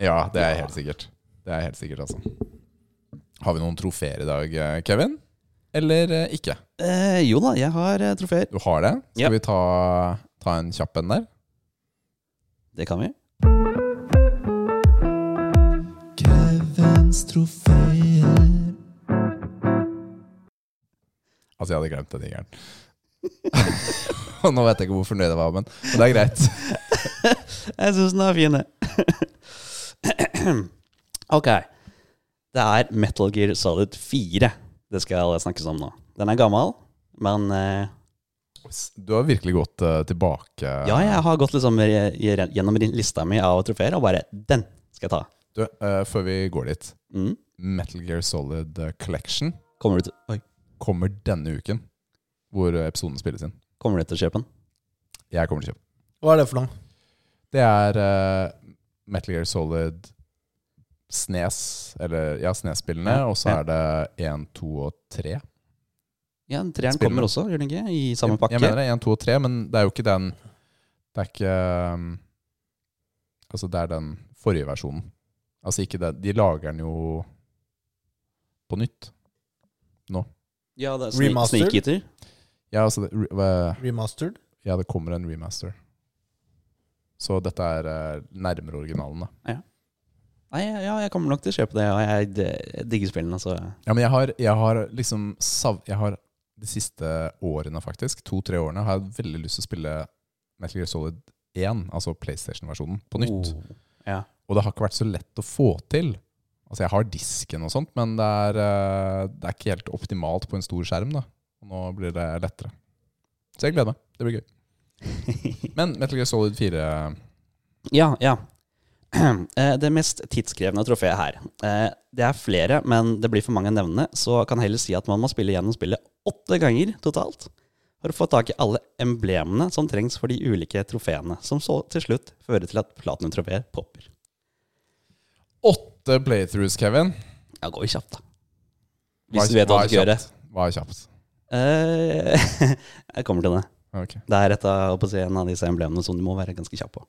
Speaker 2: ja, det er helt sikkert. Det er helt sikkert, altså. Har vi noen trofeer i dag, eh, Kevin? Eller eh, ikke?
Speaker 3: Eh, jo da, jeg har eh, trofeer.
Speaker 2: Du har det? Skal
Speaker 3: Ja.
Speaker 2: vi ta, ta en kjapp en der?
Speaker 3: Det kan vi.
Speaker 2: Kevins trofeer. Altså, jeg hadde glemt den tigeren. Og nå vet jeg ikke hvor fornøyd jeg var, men men det er greit.
Speaker 3: Jeg syns den er fin, det. ok. Det er Metal Gear Solid 4 det skal snakkes om nå. Den er gammel, men eh,
Speaker 2: Du har virkelig gått eh, tilbake.
Speaker 3: ja, jeg har gått liksom re- re- gjennom lista mi av trofeer, og bare den skal jeg ta.
Speaker 2: Du, eh, før vi går dit,
Speaker 3: Mm.
Speaker 2: Metal Gear Solid eh, Collection
Speaker 3: Kommer, du til, oi,
Speaker 2: kommer denne uken, hvor eh, episoden spilles inn.
Speaker 3: kommer du til å kjøpe den?
Speaker 2: Jeg kommer til å kjøpe. den.
Speaker 1: Hva er det for noe?
Speaker 2: Det er eh, Metal Gear Solid Snes, eller ja, Snes-spillene,
Speaker 3: Ja,
Speaker 2: og så
Speaker 3: ja.
Speaker 2: er det 1, 2 og 3.
Speaker 3: Ja, den Treeren
Speaker 2: Spiller
Speaker 3: kommer
Speaker 2: med.
Speaker 3: også, gjør den ikke? I samme
Speaker 2: Jeg-
Speaker 3: pakke?
Speaker 2: Jeg mener det, 1, 2 og 3, men det er jo ikke den Det er ikke um, Altså, det er den forrige versjonen. Altså ikke det De lager den jo på nytt.
Speaker 3: ja, det er sneak,
Speaker 1: Remastered?
Speaker 3: Sneak Eater.
Speaker 2: Ja, altså det, re- hva-
Speaker 1: Remastered?
Speaker 2: Ja, det kommer en remaster. Så dette er eh, nærmere originalen, da.
Speaker 3: Nei, ja, jeg kommer nok til å kjøpe det, og jeg, jeg digger spillene, så
Speaker 2: Ja, men jeg har, jeg har liksom sav... Jeg har de siste årene, faktisk, to-tre årene, har jeg veldig lyst til å spille Metal Gear Solid 1, altså PlayStation-versjonen, på nytt.
Speaker 3: Oh. Ja.
Speaker 2: Og det har ikke vært så lett å få til. Altså Jeg har disken og sånt, men det er, eh, det er ikke helt optimalt på en stor skjerm. da Og Nå blir det lettere. Så jeg gleder meg. Det blir gøy. Men Metal Gear Solid 4
Speaker 3: Ja, ja. Eh, Det mest tidskrevende trofeet her. eh, Det er flere, men det blir for mange nevnende, så kan jeg heller si at man må spille gjennom spillet åtte ganger totalt for å få tak i alle emblemene som trengs for de ulike trofeene, som så til slutt fører til at platinum-trofeet popper.
Speaker 2: Åtte playthroughs, Kevin.
Speaker 3: Ja, går jo kjapt, da.
Speaker 2: Hva er-
Speaker 3: Hvis du vet hva
Speaker 2: er
Speaker 3: du skal gjøre.
Speaker 2: kjapt? Hva er kjapt?
Speaker 3: Eh, Jeg kommer til det.
Speaker 2: Ok.
Speaker 3: Det er et av, på å si, en av disse emblemene som du må være ganske kjapp på.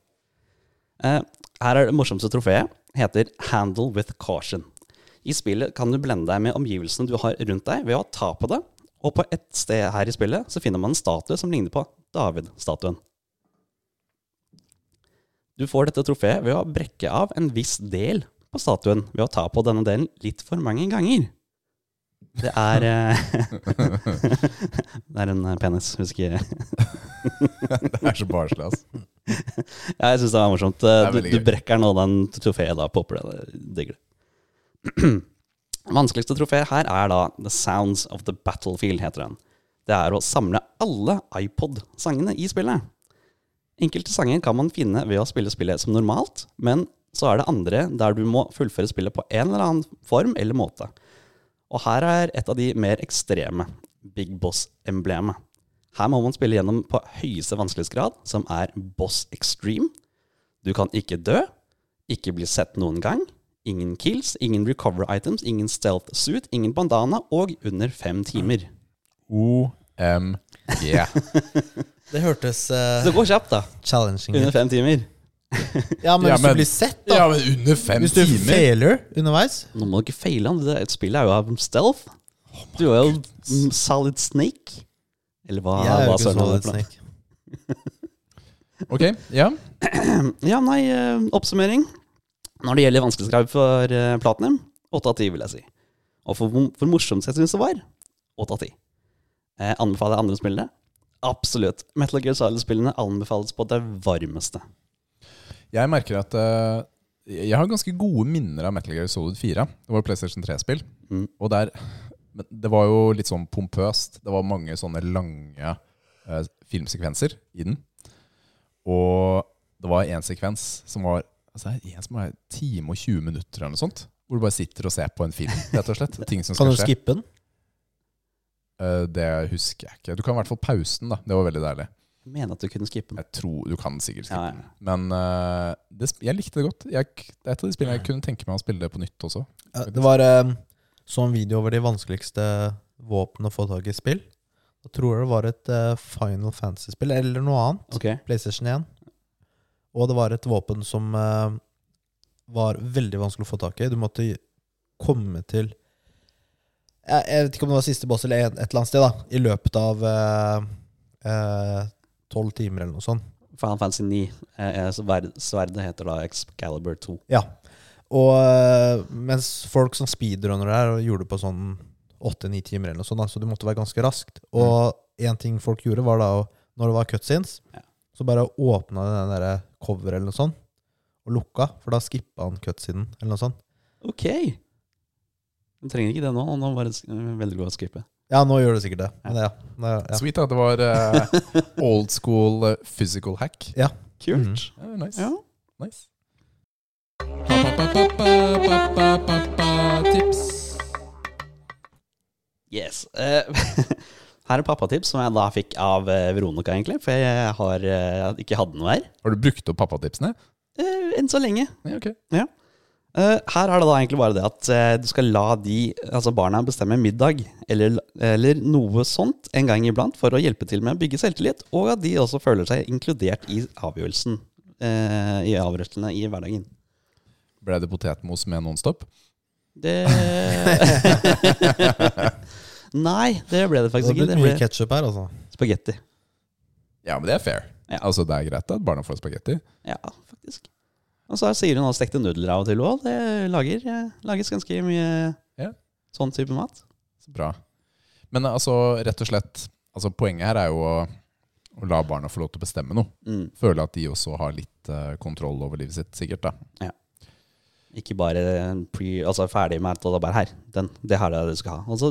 Speaker 3: Eh, her er det morsomste trofeet. Heter Handle with caution. I spillet kan du blende deg med omgivelsene du har rundt deg, ved å ta på det. Og på et sted her i spillet så finner man en statue som ligner på David-statuen. Du får dette trofeet ved å brekke av en viss del på statuen ved å ta på denne delen litt for mange ganger. Det er eh, Det er en eh, penis, husker jeg.
Speaker 2: Det er så barnslig, altså.
Speaker 3: Ja, jeg syns det var morsomt. Eh,
Speaker 2: er
Speaker 3: Du,
Speaker 2: veldig
Speaker 3: du
Speaker 2: gøy.
Speaker 3: brekker nå den trofeet, da popper det. Jeg Digger det. Vanskeligste trofé her er da The Sounds of the Battlefield, heter den. Det er å samle alle iPod-sangene i spillet. Enkelte sanger kan man finne ved å spille spillet som normalt, men så er det andre der du må fullføre spillet på en eller annen form eller måte. Og her er et av de mer ekstreme, Big Boss-emblemet. Her må man spille gjennom på høyeste vanskelighetsgrad, som er Boss Extreme. Du kan ikke dø, ikke bli sett noen gang, ingen kills, ingen recover items, ingen stealth suit, ingen bandana og under fem timer.
Speaker 2: OMG.
Speaker 1: Det hørtes eh,
Speaker 3: Så det går kjapt, da.
Speaker 1: challenging
Speaker 3: Under
Speaker 1: ut.
Speaker 3: fem timer.
Speaker 1: Ja, men
Speaker 2: Ja,
Speaker 1: hvis
Speaker 2: men-
Speaker 1: du blir sett, da.
Speaker 2: Ja, men under fem
Speaker 1: hvis du
Speaker 2: timer!
Speaker 1: failer underveis
Speaker 3: Nå må du ikke feile. han. Det- Spillet er jo av stealth. Du er jo mm, Solid Snake. Eller hva,
Speaker 1: Jeg er jo
Speaker 3: hva
Speaker 1: ikke
Speaker 3: søren han er
Speaker 1: Solid
Speaker 3: for noe.
Speaker 1: Snake.
Speaker 2: Ok, ja.
Speaker 3: Ja, nei, eh, oppsummering. Når det gjelder vanskelighetsgrad for eh, Platinum, 8 av 10, vil jeg si. Og for, for morsomt jeg syns det var, 8 av 10. Eh, anbefaler jeg andre spillene? Absolutt. Metal Gear Solid-spillene anbefales på det varmeste.
Speaker 2: Jeg merker at eh, Jeg har ganske gode minner av Metal Gear Solid 4. Det var jo PlayStation 3-spill.
Speaker 3: Mm.
Speaker 2: Og der men Det var jo litt sånn pompøst. Det var mange sånne lange eh, filmsekvenser i den. Og det var en sekvens som var altså det er en som var en time og 20 minutter eller noe sånt. Hvor du bare sitter og ser på en film, rett og slett. Ting som
Speaker 1: Kan
Speaker 2: skal
Speaker 1: du
Speaker 2: skje.
Speaker 1: skippe den?
Speaker 2: Eh, det husker jeg ikke. Du kan i hvert fall pause den, da. Det var veldig deilig.
Speaker 3: Jeg mener at du kunne skippe den.
Speaker 2: Jeg tror Du kan sikkert skippe
Speaker 3: Ja, ja.
Speaker 2: den. Men eh, det, sp- jeg likte det godt. Jeg, k- det er et av de spillene jeg kunne tenke meg å spille det på nytt også.
Speaker 1: Ja, Det var eh, så en video over de vanskeligste våpnene å få tak i i spill. Jeg tror det var et eh, Final Fantasy-spill eller noe annet.
Speaker 3: Ok.
Speaker 1: PlayStation 1. Og det var et våpen som eh, var veldig vanskelig å få tak i. Du måtte komme til jeg, jeg vet ikke om det var siste boss eller et, et eller annet sted, da. I løpet av eh, tolv timer eller noe sånt.
Speaker 3: Final Fantasy 9. Eh, eh, sverd, sverdet heter da Excalibur 2.
Speaker 1: Ja. Og øh, mens folk som speedrunner der og gjorde det på sånn åtte-ni timer, eller noe sånt, da, så du måtte være ganske raskt. Og én ting folk gjorde, var da å- når det var cutscenes,
Speaker 3: Ja.
Speaker 1: så bare åpna de den der coveret eller noe sånt, og lukka, for da skippa han cutscenen eller noe sånt.
Speaker 3: Ok! Du trenger ikke det nå. Nå bare sk- velger du å skippe.
Speaker 1: Ja, nå gjør det sikkert det. Men ja, det ja.
Speaker 2: Sweet, da. Det var eh, old school eh, physical hack.
Speaker 3: Kult.
Speaker 1: Mhm.
Speaker 2: Ja, nice.
Speaker 3: Ja.
Speaker 2: nice. Tips.
Speaker 3: Yes. Eh, her er pappatips som jeg da fikk av eh, Veronica, egentlig. For jeg har eh, ikke hadde noe her.
Speaker 2: Har du brukt opp pappatipsene?
Speaker 3: Eh, enn så lenge.
Speaker 2: Ja, ok.
Speaker 3: Eh, her er det da egentlig bare det at eh, du skal la de, altså barna bestemme middag eller, eller noe sånt en gang iblant for å hjelpe til med å bygge selvtillit, og at de også føler seg inkludert i avgjørelsen. eh, I avgjørelsene i hverdagen.
Speaker 2: Ble det potetmos med Nonstop?
Speaker 3: Det Nei, det ble
Speaker 1: Det
Speaker 3: det faktisk ikke.
Speaker 1: blir
Speaker 3: Det
Speaker 1: mye
Speaker 3: ble
Speaker 1: ketsjup her, altså.
Speaker 3: spagetti.
Speaker 2: Ja, men det er fair.
Speaker 3: Ja.
Speaker 2: Altså, Det er greit at barna får spagetti.
Speaker 3: Ja, faktisk. Og så sier hun også stekte nudler av og til òg. Det lager, eh, lages ganske mye
Speaker 2: Ja.
Speaker 3: sånn type mat.
Speaker 2: Så Bra. Men eh, altså, rett og slett altså, Poenget her er jo å, å la barna få lov til å bestemme noe.
Speaker 3: Mm.
Speaker 2: Føle at de også har litt eh, kontroll over livet sitt, sikkert. da.
Speaker 3: Ikke bare en pre, altså ferdig med alt og da bare her. Den, det her er det du skal ha. Og så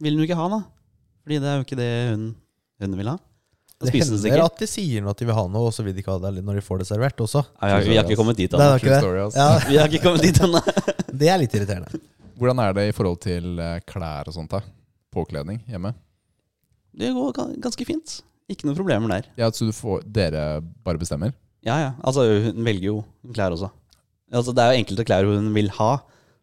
Speaker 3: vil hun jo ikke ha, da. Fordi det er jo ikke det hun, hun vil ha. Da
Speaker 1: Det
Speaker 3: spiser hun
Speaker 1: hender
Speaker 3: sikkert.
Speaker 1: at de sier noe at de vil ha noe, og så vil de ikke ha det når de får det servert også.
Speaker 3: Ja, ja, vi har ikke kommet
Speaker 1: Det
Speaker 3: dit ennå.
Speaker 1: er ikke det.
Speaker 2: Story, altså.
Speaker 1: Ja,
Speaker 3: Vi har ikke kommet dit ennå.
Speaker 1: det er litt irriterende.
Speaker 2: Hvordan er det i forhold til eh, klær og sånt? da? Påkledning hjemme?
Speaker 3: Det går ga- ganske fint. Ikke noen problemer der.
Speaker 2: Ja, Så du får, dere bare bestemmer?
Speaker 3: Ja, ja. Altså, hun velger jo klær også. Altså, det er jo enkelte klær hun vil ha,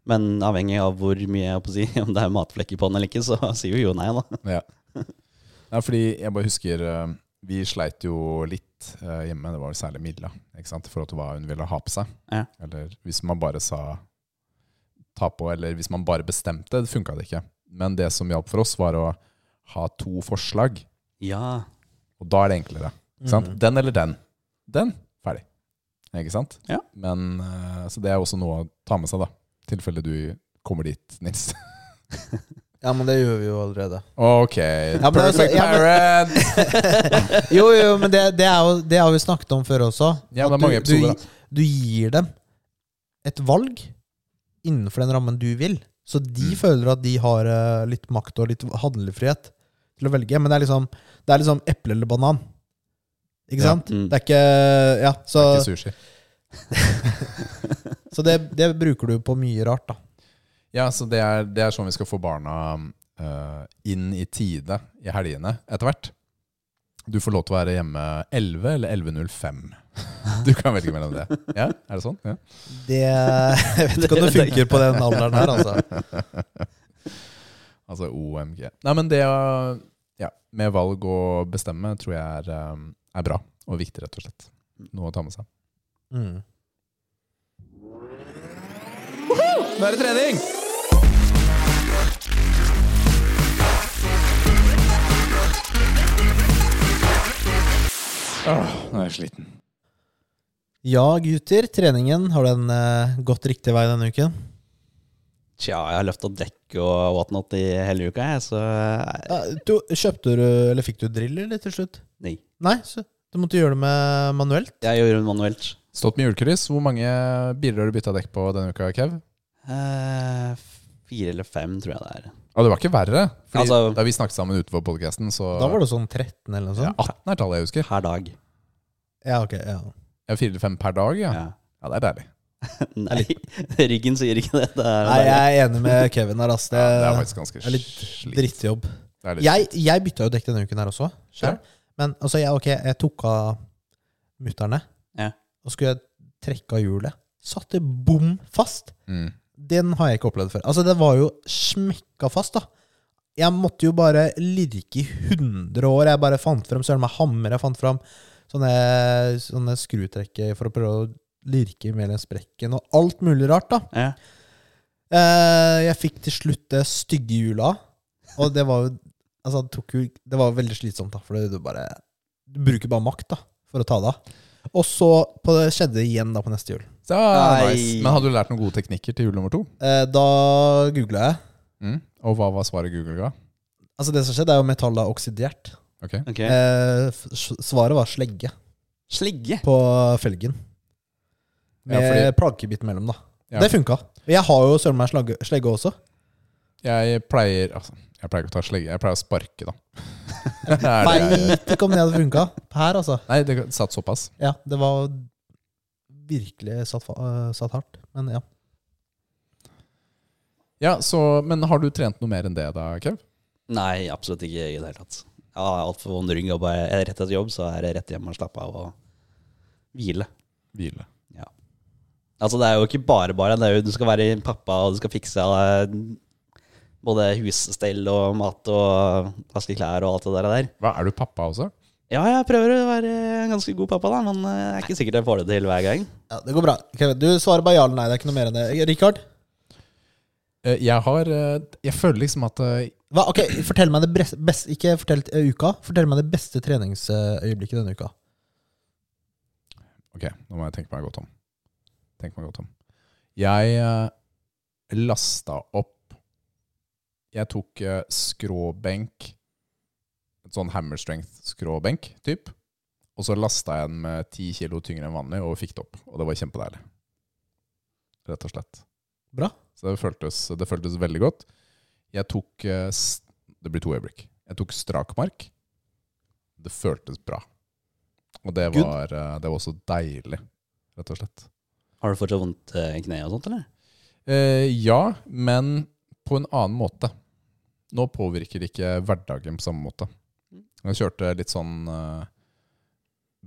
Speaker 3: men avhengig av hvor mye jeg holdt på å si, om det er matflekker på den eller ikke, så sier hun jo nei, da.
Speaker 2: Ja. Nei, fordi jeg bare husker eh, Vi sleit jo litt eh, hjemme, det var jo særlig Milla, ikke sant? i forhold til hva hun ville ha på seg.
Speaker 3: Ja.
Speaker 2: Eller hvis man bare sa ta på, eller hvis man bare bestemte, det funka det ikke. Men det som hjalp for oss, var å ha to forslag,
Speaker 3: Ja.
Speaker 2: og da er det enklere. Ikke sant?
Speaker 1: Mhm.
Speaker 2: Den eller den. Den, ferdig. Ikke sant?
Speaker 3: Ja.
Speaker 2: Men, eh, så det er også noe å ta med seg, da. tilfelle du kommer dit, Nils.
Speaker 1: Ja, men det gjør vi jo allerede.
Speaker 2: Ok,
Speaker 1: men altså,
Speaker 2: perfect
Speaker 1: ja, men-
Speaker 2: parent!
Speaker 1: Jo, jo, men det, det, er jo, det har vi snakket om før også.
Speaker 2: Ja,
Speaker 1: At
Speaker 2: det er mange
Speaker 1: du, du,
Speaker 2: episoder,
Speaker 1: du gir dem et valg innenfor den rammen du vil. Så de
Speaker 2: Mm.
Speaker 1: føler at de har eh, litt makt og litt handlefrihet til å velge. Men det er liksom, det er liksom eple eller banan. Ikke
Speaker 2: Ja.
Speaker 1: sant?
Speaker 3: Mm.
Speaker 1: Det er ikke Ja, så
Speaker 2: Ikke sushi.
Speaker 1: Så det, det bruker du på mye rart, da.
Speaker 2: Ja, så det er, det er sånn vi skal få barna eh, inn i tide i helgene etter hvert. Du får lov til å være hjemme 11 eller 11.05. Du kan velge mellom det. Ja, Er det sånn? Ja.
Speaker 1: Det, jeg vet ikke om det funker på den alderen her, altså.
Speaker 2: Altså OMG. Nei, men det å- ja, med valg og bestemme tror jeg er, eh, er bra og viktig, rett og slett. Noe å ta med seg.
Speaker 1: Mm.
Speaker 2: Nå er det trening! Åh, nå er jeg sliten.
Speaker 1: Ja, gutter. Treningen, har den eh, gått riktig vei denne uken?
Speaker 3: Tja, jeg har løfta dekk og whatnot i hele uka, jeg, så eh,
Speaker 1: Ja, du, kjøpte du, eller fikk du driller litt til slutt?
Speaker 3: Nei.
Speaker 1: Nei, så du måtte gjøre det med manuelt?
Speaker 3: Jeg gjør det manuelt.
Speaker 2: Stått med hjulkryss. Hvor mange biler har du bytta dekk på denne uka, Kev?
Speaker 3: Eh, fire eller fem, tror jeg det er.
Speaker 2: Ja, det var ikke verre. Fordi
Speaker 3: Altså-
Speaker 2: da vi snakket sammen utenfor podkasten, så
Speaker 1: Da var det sånn 13 eller noe
Speaker 2: ja,
Speaker 1: sånt?
Speaker 2: 18 er tallet jeg husker.
Speaker 3: Per dag.
Speaker 1: Ja, ok. Ja.
Speaker 2: Ja, Fire til fem per dag, ja.
Speaker 3: Ja.
Speaker 2: Ja, Det er deilig.
Speaker 3: Nei, ryggen sier ikke det. det er
Speaker 1: Nei, jeg er enig med Kevin her, ass.
Speaker 2: Ja, det er
Speaker 1: Det
Speaker 2: faktisk ganske
Speaker 1: er litt
Speaker 2: slit.
Speaker 1: drittjobb.
Speaker 2: Det er litt
Speaker 1: Jeg, jeg bytta jo dekk denne uken her også. selv. Men altså, jeg, ok, jeg tok av mutterne,
Speaker 3: Ja.
Speaker 1: og skulle jeg trekke av hjulet. Satt det bom fast!
Speaker 2: Mm.
Speaker 1: Den har jeg ikke opplevd før. Altså, det var jo smekka fast, da. Jeg måtte jo bare lirke i 100 år. Jeg bare fant frem søren meg hammer. Jeg fant fram sånne, sånne skrutrekker for å prøve å lirke mellom sprekken, og alt mulig rart, da.
Speaker 3: Ja.
Speaker 1: Eh, jeg fikk til slutt det stygge hjulet av. Og det var jo altså, det, tok jo, det var veldig slitsomt, da, for du bare Du bruker bare makt da for å ta det av. Og så på, skjedde det igjen da på neste hjul.
Speaker 2: Så, ah,
Speaker 3: Nei.
Speaker 2: nice. Men hadde du lært noen gode teknikker til jul nummer to?
Speaker 1: Eh, da googla jeg.
Speaker 2: Mm. Og hva var svaret Google ga?
Speaker 1: Altså Det som skjedde, er jo metallet er oksidert.
Speaker 2: Ok.
Speaker 3: Ok.
Speaker 1: Eh, f- svaret var slegge
Speaker 3: Slegge.
Speaker 1: på felgen.
Speaker 2: Ja,
Speaker 1: Med
Speaker 2: fordi-
Speaker 1: plagebit mellom, da.
Speaker 2: Ja.
Speaker 1: Det funka. Jeg har jo søren meg slagge- slegge også.
Speaker 2: Jeg pleier altså, Jeg pleier ikke å ta slegge, jeg pleier å sparke, da. Det er det jeg-
Speaker 1: Veit ikke om det hadde funka her, altså.
Speaker 2: Nei, det satt såpass.
Speaker 1: Ja, det var virkelig satt, fa- øh, satt hardt. Men ja.
Speaker 2: Ja, så, Men har du trent noe mer enn det, da, Kev?
Speaker 3: Nei, absolutt ikke i det hele tatt. Jeg har altfor vond rygg, og bare er rett etter jobb så er det rett hjem og slappe av og hvile.
Speaker 2: Hvile.
Speaker 3: Altså Det er jo ikke bare bare. Det er jo, du skal være pappa, og du skal fikse eh, både husstell og mat og vaske klær og alt det der. der.
Speaker 2: Hva, Er du pappa også?
Speaker 3: Ja, jeg prøver å være en ganske god pappa, da, men eh, jeg er ikke sikkert jeg får det til hver gang.
Speaker 1: ja, det går bra. Kevin, Du svarer bare ja eller nei. Det er ikke noe mer enn det. Richard,
Speaker 2: Eh, Jeg har eh, Jeg føler liksom at eh,
Speaker 1: hva, ok, fortell meg det bres- best, ikke fortell eh, uka, fortell meg det beste treningsøyeblikket denne uka.
Speaker 2: Ok, nå må jeg tenke meg godt om. Tenk meg godt om. Jeg eh, lasta opp Jeg tok eh, skråbenk, et sånn hammer strength-skråbenk, typ. Og så lasta jeg den med ti kilo tyngre enn vanlig og fikk det opp. Og det var kjempedeilig. Rett og slett.
Speaker 1: Bra.
Speaker 2: Så det føltes, det føltes veldig godt. Jeg tok eh, s- Det blir to øyeblikk. Jeg tok strakmark. Det føltes bra. Og det
Speaker 1: Good.
Speaker 2: var, eh, det var også deilig, rett og slett.
Speaker 3: Har du fortsatt vondt eh, i kneet og sånt, eller?
Speaker 2: Eh, ja, men på en annen måte. Nå påvirker det ikke hverdagen på samme måte. Jeg kjørte litt sånn eh,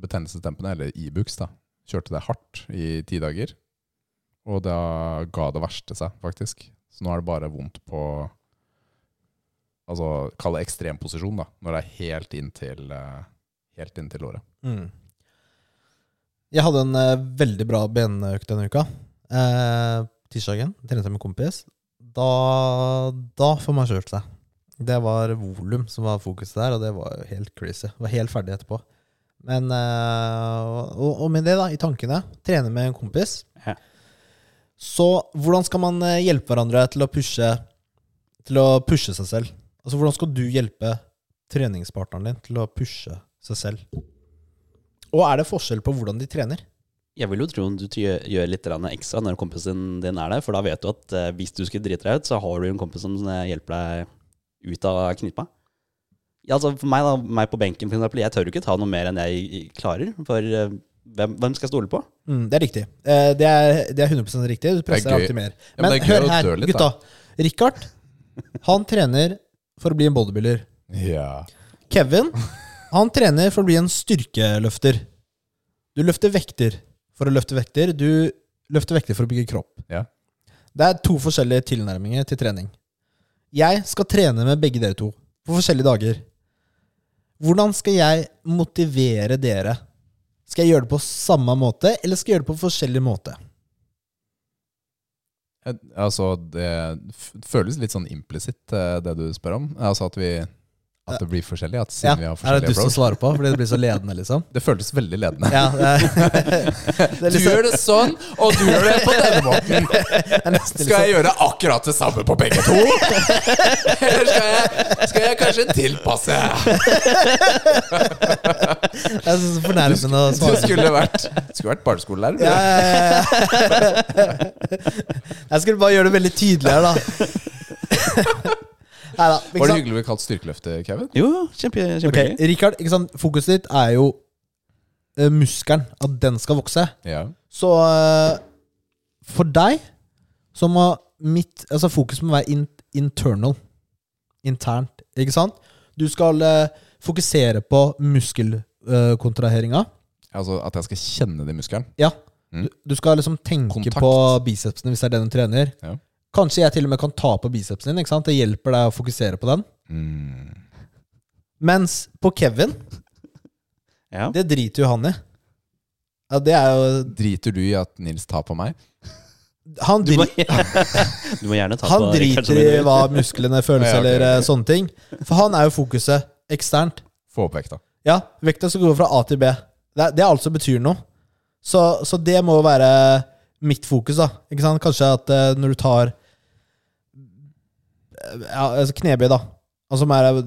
Speaker 2: betennelsestempene, eller Ibux, da. Kjørte det hardt i ti dager. Og da ga det verste seg, faktisk. Så nå er det bare vondt på Altså, kall det ekstremposisjon, da. Når det er helt inntil, eh, helt inntil låret.
Speaker 1: Mm. Jeg hadde en eh, veldig bra benøkt denne uka. Eh, tirsdagen trente jeg med kompis. Da, da får man kjørt seg. Det var volum som var fokuset der, og det var jo helt crazy. Var helt ferdig etterpå. Men eh, og, og med det, da, i tankene, trene med en kompis
Speaker 3: Ja.
Speaker 1: Så hvordan skal man eh, hjelpe hverandre til å pushe Til å pushe seg selv? Altså hvordan skal du hjelpe treningspartneren din til å pushe seg selv? Og er det forskjell på hvordan de trener?
Speaker 3: Jeg vil jo tro du ty- gjør litt grann ekstra når kompisen din er der, for da vet du at eh, hvis du skulle drite deg ut, så har du en kompis som eh, hjelper deg ut av knipa. Ja, altså for meg da, meg på benken for eksempel, jeg tør jo ikke ta noe mer enn jeg klarer, for eh, hvem, hvem skal jeg stole på?
Speaker 1: Mm, det er riktig. Eh, Det er, det er 100 riktig. Du presser
Speaker 2: Det er gøy.
Speaker 1: alltid mer.
Speaker 2: Ja, men det er gøy å dø litt,
Speaker 1: gutta.
Speaker 2: da.
Speaker 1: Richard, han trener for å bli en bodybuilder.
Speaker 2: Ja.
Speaker 1: Kevin, han trener for å bli en styrkeløfter. Du løfter vekter for å løfte vekter. Du løfter vekter for å bygge kropp.
Speaker 2: Ja.
Speaker 1: Det er to forskjellige tilnærminger til trening. Jeg skal trene med begge dere to på forskjellige dager. Hvordan skal jeg motivere dere? Skal jeg gjøre det på samme måte, eller skal jeg gjøre det på forskjellig måte?
Speaker 2: Eh, Altså, det f- føles litt sånn implisitt, eh, det du spør om. Altså at vi At det blir forskjellig. At siden vi har
Speaker 1: er det
Speaker 2: forskjellige
Speaker 1: du som
Speaker 2: approach.
Speaker 1: svarer på, fordi det blir så ledende, liksom?
Speaker 2: Det føltes veldig ledende.
Speaker 1: Ja, det er, det er
Speaker 2: Du
Speaker 1: liksom-
Speaker 2: gjør det sånn, og du gjør det på denne måten.
Speaker 1: det er nesten sånn-
Speaker 2: Skal jeg gjøre akkurat det samme på begge to? Eller skal jeg, skal jeg kanskje tilpasse?
Speaker 1: liksom- det er så fornærmende å
Speaker 2: Du
Speaker 1: svare
Speaker 2: skulle vært, skulle vært
Speaker 1: Ja,
Speaker 2: barneskolelærer. du.
Speaker 1: ja, ja. Jeg skulle bare gjøre det veldig tydelig her, da. Neida, ikke
Speaker 2: Var det
Speaker 1: sant?
Speaker 2: hyggelig å bli kalt styrkeløfte, Kevin?
Speaker 3: Jo, kjempe,
Speaker 1: Ok,
Speaker 3: kjempegøy.
Speaker 1: Rikard, ikke sant? fokuset ditt er jo eh, muskelen. At den skal vokse.
Speaker 2: Ja.
Speaker 1: Så eh, for deg så må mitt altså fokus må være in internal. Internt, ikke sant? Du skal eh, fokusere på muskelkontraheringa.
Speaker 2: Altså at jeg skal kjenne det i muskelen.
Speaker 1: Ja.
Speaker 2: Mm.
Speaker 1: Du, du skal liksom tenke
Speaker 2: Kontakt.
Speaker 1: på bicepsene hvis det er det du trener.
Speaker 2: Ja.
Speaker 1: Kanskje jeg til og med kan ta på bicepsen din. ikke sant? Det hjelper deg å fokusere på den.
Speaker 2: Mm.
Speaker 1: Mens på Kevin,
Speaker 3: Ja.
Speaker 1: det driter jo han i. Ja, det er jo
Speaker 2: Driter du i at Nils tar på meg?
Speaker 1: Han,
Speaker 3: Du, må,
Speaker 1: dri
Speaker 3: du må gjerne ta
Speaker 1: han
Speaker 3: på Rikard
Speaker 1: driter
Speaker 3: som
Speaker 1: i
Speaker 3: vinner.
Speaker 1: hva musklene føles
Speaker 2: Ja, ok.
Speaker 1: eller eh, sånne ting. For han er jo fokuset eksternt.
Speaker 2: Få opp vekta.
Speaker 1: Ja, vekta skal gå fra A til B. Det, er- det er alt som betyr noe. Så, så det må være mitt fokus, da. Ikke sant? Kanskje at eh, når du tar eh, ja, altså knebøy, da. Altså som er eh,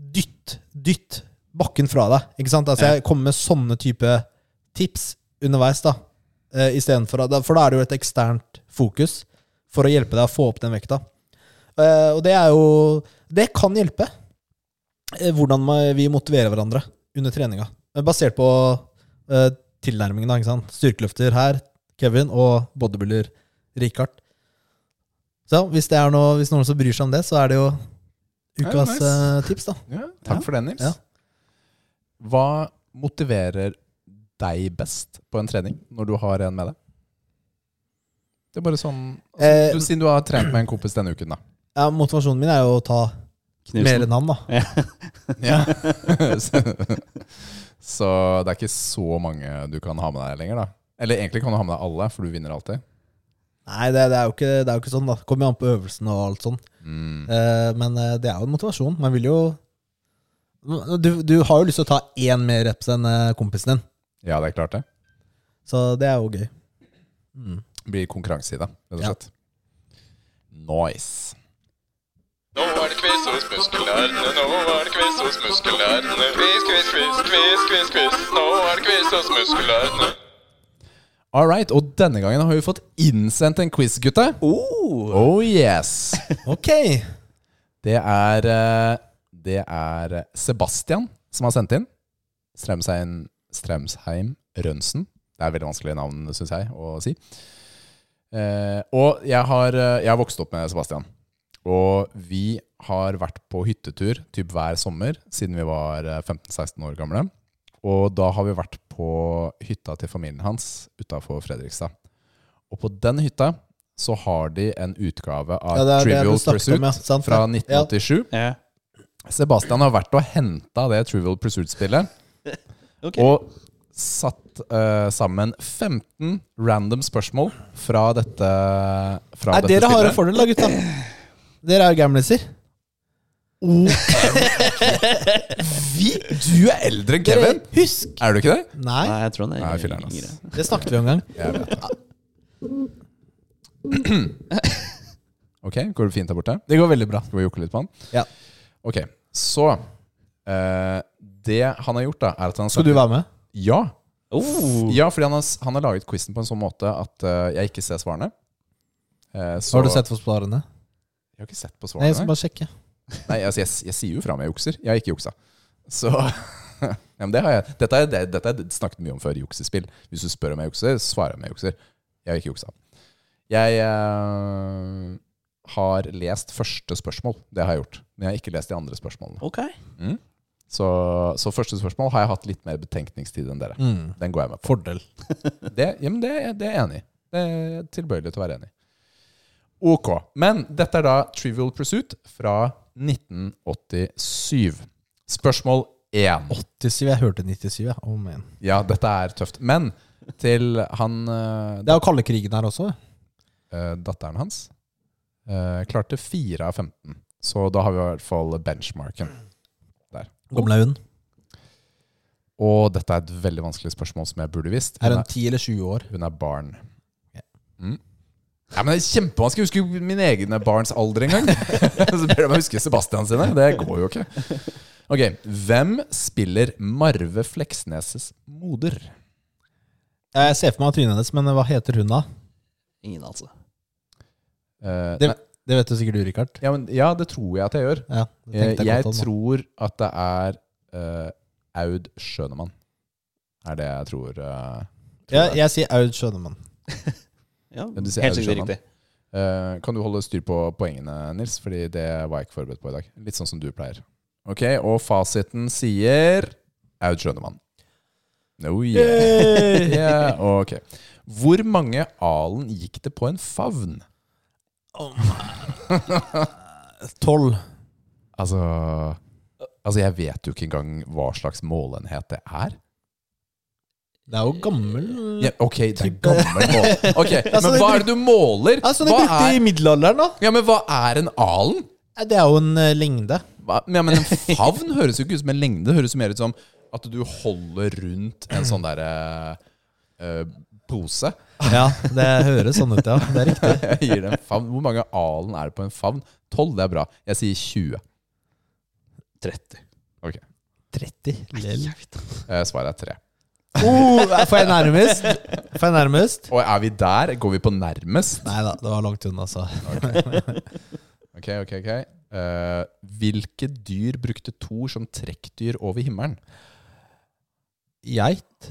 Speaker 1: Dytt, dytt bakken fra deg. Ikke sant? Altså, jeg kommer med sånne type tips underveis, da. Eh, Istedenfor at- For da er det jo et eksternt fokus for å hjelpe deg å få opp den vekta. Eh, og det er jo Det kan hjelpe eh, hvordan ma- vi motiverer hverandre under treninga. Eh, Basert på eh, tilnærmingen, da. Ikke sant? Styrkeløfter her, Kevin, og bodybuilder Richard. Så hvis det er noe, hvis noen som bryr seg om det, så er det jo
Speaker 2: Ja,
Speaker 1: ukas
Speaker 2: nice.
Speaker 1: eh, tips, da.
Speaker 2: Ja, takk
Speaker 3: Ja.
Speaker 2: for det, Nils.
Speaker 1: Ja.
Speaker 2: Hva motiverer deg best på en trening, når du har en med deg? Det er bare sånn altså,
Speaker 1: Eh,
Speaker 2: du, Siden du har trent med en kompis denne uken, da.
Speaker 1: Ja, motivasjonen min er jo å ta mer
Speaker 3: Knusen.
Speaker 1: enn han, da.
Speaker 2: så, så det er ikke så mange du kan ha med deg lenger, da. Eller egentlig kan du ha med deg alle, for du vinner alltid.
Speaker 1: Nei, det, det, er jo ikke, det er jo ikke sånn, da. Kommer jo an på øvelsen og alt sånn.
Speaker 2: Mm.
Speaker 1: Eh, men eh, det er jo en motivasjon. Man vil jo du, du har jo lyst til å ta én mer reps enn eh, kompisen din,
Speaker 2: Ja, det er klart det.
Speaker 1: så det er jo gøy. Mm.
Speaker 2: Det blir konkurranse i det, rett og
Speaker 1: Ja.
Speaker 2: slett. Nice.
Speaker 4: Nå er det quiz hos muskelnerdene, nå er det quiz hos muskelnerdene. Quiz, quiz, quiz, quiz, quiz, quiz. Nå er det quiz hos muskelnerdene.
Speaker 2: All right, og denne gangen har vi fått innsendt en quiz, gutta.
Speaker 3: Oh,
Speaker 2: Oh yes!
Speaker 1: Ok!
Speaker 2: Det er, eh, det er Sebastian som har sendt inn. Strømsheim, Strømsheim Rønsen. Det er veldig vanskelig navn, syns jeg, å si. Eh, og jeg har, eh, jeg har vokst opp med Sebastian. Og vi har vært på hyttetur typ hver sommer siden vi var eh, 15-16 år gamle. Og da har vi vært på hytta til familien hans utafor Fredrikstad. Og på den hytta så har de en utgave av
Speaker 1: Ja, det er det
Speaker 2: Trivial
Speaker 1: du snakket om,
Speaker 2: Pursuit
Speaker 1: ja, sant?
Speaker 2: fra
Speaker 1: Ja.
Speaker 2: 1987.
Speaker 3: ja.
Speaker 2: Sebastian har vært og henta det Trivial Pursuit-spillet.
Speaker 3: Ok.
Speaker 2: Og satt eh, sammen 15 random spørsmål fra dette, fra
Speaker 1: Nei,
Speaker 2: dette
Speaker 1: dere har en
Speaker 2: spillet.
Speaker 1: fordel, da, gutta. Dere er jo gamliser.
Speaker 2: Vi, du er eldre enn
Speaker 1: Dere,
Speaker 2: Kevin!
Speaker 1: husk!
Speaker 2: Er du ikke det?
Speaker 1: Nei,
Speaker 3: Nei, jeg tror han er
Speaker 2: Nei, filler'n, ass.
Speaker 3: yngre.
Speaker 1: det snakket vi om en gang.
Speaker 2: Jeg vet det. Ok, går det fint der borte?
Speaker 1: Det går veldig bra.
Speaker 2: Skal vi jokke litt på han?
Speaker 1: Ja.
Speaker 2: Ok, så eh, Det han har gjort, da, er at han har
Speaker 1: Skal du være med?
Speaker 2: Ja.
Speaker 1: Mm.
Speaker 3: Oh,
Speaker 2: Ja, fordi han har, han har laget quizen på en sånn måte at eh, jeg ikke ser svarene. Eh, så-
Speaker 1: Har du sett for svarene?
Speaker 2: Jeg har ikke sett på
Speaker 1: Nei,
Speaker 2: svarene.
Speaker 1: jeg skal bare sjekke.
Speaker 2: Nei, altså, jeg, jeg sier jo fra om jeg jukser. Jeg har ikke juksa. Så Ja, men det har jeg. Dette, er, det, dette er snakket mye om før i juksespill. Hvis du spør om jeg jukser, svarer jeg om jeg jukser. Jeg har ikke juksa. Jeg eh, har lest første spørsmål. Det har jeg gjort. Men jeg har ikke lest de andre spørsmålene.
Speaker 3: Ok.
Speaker 2: Så, så første spørsmål har jeg hatt litt mer betenkningstid enn dere.
Speaker 1: Mm.
Speaker 2: Den går jeg med på.
Speaker 1: Fordel.
Speaker 2: Det, ja, men det, det er jeg enig i. Det er tilbøyelig til å være enig i. Ok. Men dette er da Trivial Pursuit fra 1987. Spørsmål én.
Speaker 1: 87, jeg hørte 97, jeg. Oh, man.
Speaker 2: Ja, dette er tøft. Men til han eh,
Speaker 1: Det er jo kalde krigen her også.
Speaker 2: eh, datteren hans eh, klarte 4 av 15. Så da har vi i hvert fall benchmarken.
Speaker 1: Gomlehund.
Speaker 2: Og dette er et veldig vanskelig spørsmål som jeg burde visst.
Speaker 1: Er
Speaker 2: Hun
Speaker 1: hun
Speaker 2: er,
Speaker 1: 10 eller 20 år?
Speaker 2: hun er barn.
Speaker 1: Ja.
Speaker 2: Mm. Ja, men det er kjempevanskelig. Jeg husker jo min egne barns alder en gang. Så ber de meg huske Sebastian sine. Det går jo ikke. Ok, Hvem spiller Marve Fleksneses moder?
Speaker 1: Jeg ser for meg trynet hennes, men hva heter hun da?
Speaker 3: Ingen altså.
Speaker 2: Eh,
Speaker 1: Det,
Speaker 2: nei,
Speaker 1: det vet du sikkert du, Rikard.
Speaker 2: ja, men, ja, det tror jeg at jeg gjør.
Speaker 1: Ja, det
Speaker 2: Eh, Jeg,
Speaker 1: tenkte jeg godt om, da.
Speaker 2: tror at det er eh, Aud Schønemann. Er det jeg tror. eh, tror
Speaker 1: jeg,
Speaker 2: det er.
Speaker 1: jeg sier Aud Skjønemann.
Speaker 2: Ja,
Speaker 3: Ja,
Speaker 2: du sier Aud
Speaker 3: helt sikkert
Speaker 2: Schønemann.
Speaker 3: riktig.
Speaker 2: Eh, kan du holde styr på poengene, Nils? Fordi det var jeg ikke forberedt på i dag. Litt sånn som du pleier. Ok, Og fasiten sier Aud Schønemann. Oh yeah. yeah. Ok. Hvor mange alen gikk det på en favn?
Speaker 1: Tolv.
Speaker 2: Altså Altså, jeg vet jo ikke engang hva slags målenhet det er.
Speaker 1: Det er jo gammel
Speaker 2: Ja, ok, det er en gammel mål. Ok,
Speaker 1: Altså,
Speaker 2: Men
Speaker 1: det
Speaker 2: hva er det du måler?
Speaker 1: Altså, de
Speaker 2: Hva
Speaker 1: brukte
Speaker 2: er,
Speaker 1: i middelalderen, da.
Speaker 2: ja, men hva er en alen?
Speaker 1: Nei, Det er jo en eh, lengde.
Speaker 2: Hva? Ja, men en favn høres jo ikke ut som en lengde. Det høres jo mer ut som at du holder rundt en sånn derre eh, pose.
Speaker 1: Ja, det høres sånn ut, ja. Det er riktig.
Speaker 2: Jeg gir det en favn. Hvor mange alen er det på en favn? 12, det er bra. Jeg sier 20.
Speaker 3: 30.
Speaker 1: 30. Lel.
Speaker 2: Eh, Svaret er 3.
Speaker 1: Oh, får jeg nærmest? Får jeg nærmest?
Speaker 2: Og er vi der? Går vi på nærmest?
Speaker 1: Nei da, det var langt unna, altså.
Speaker 2: Ok, ok, ok. Eh, hvilke dyr brukte Thor som trekkdyr over himmelen?
Speaker 1: Geit?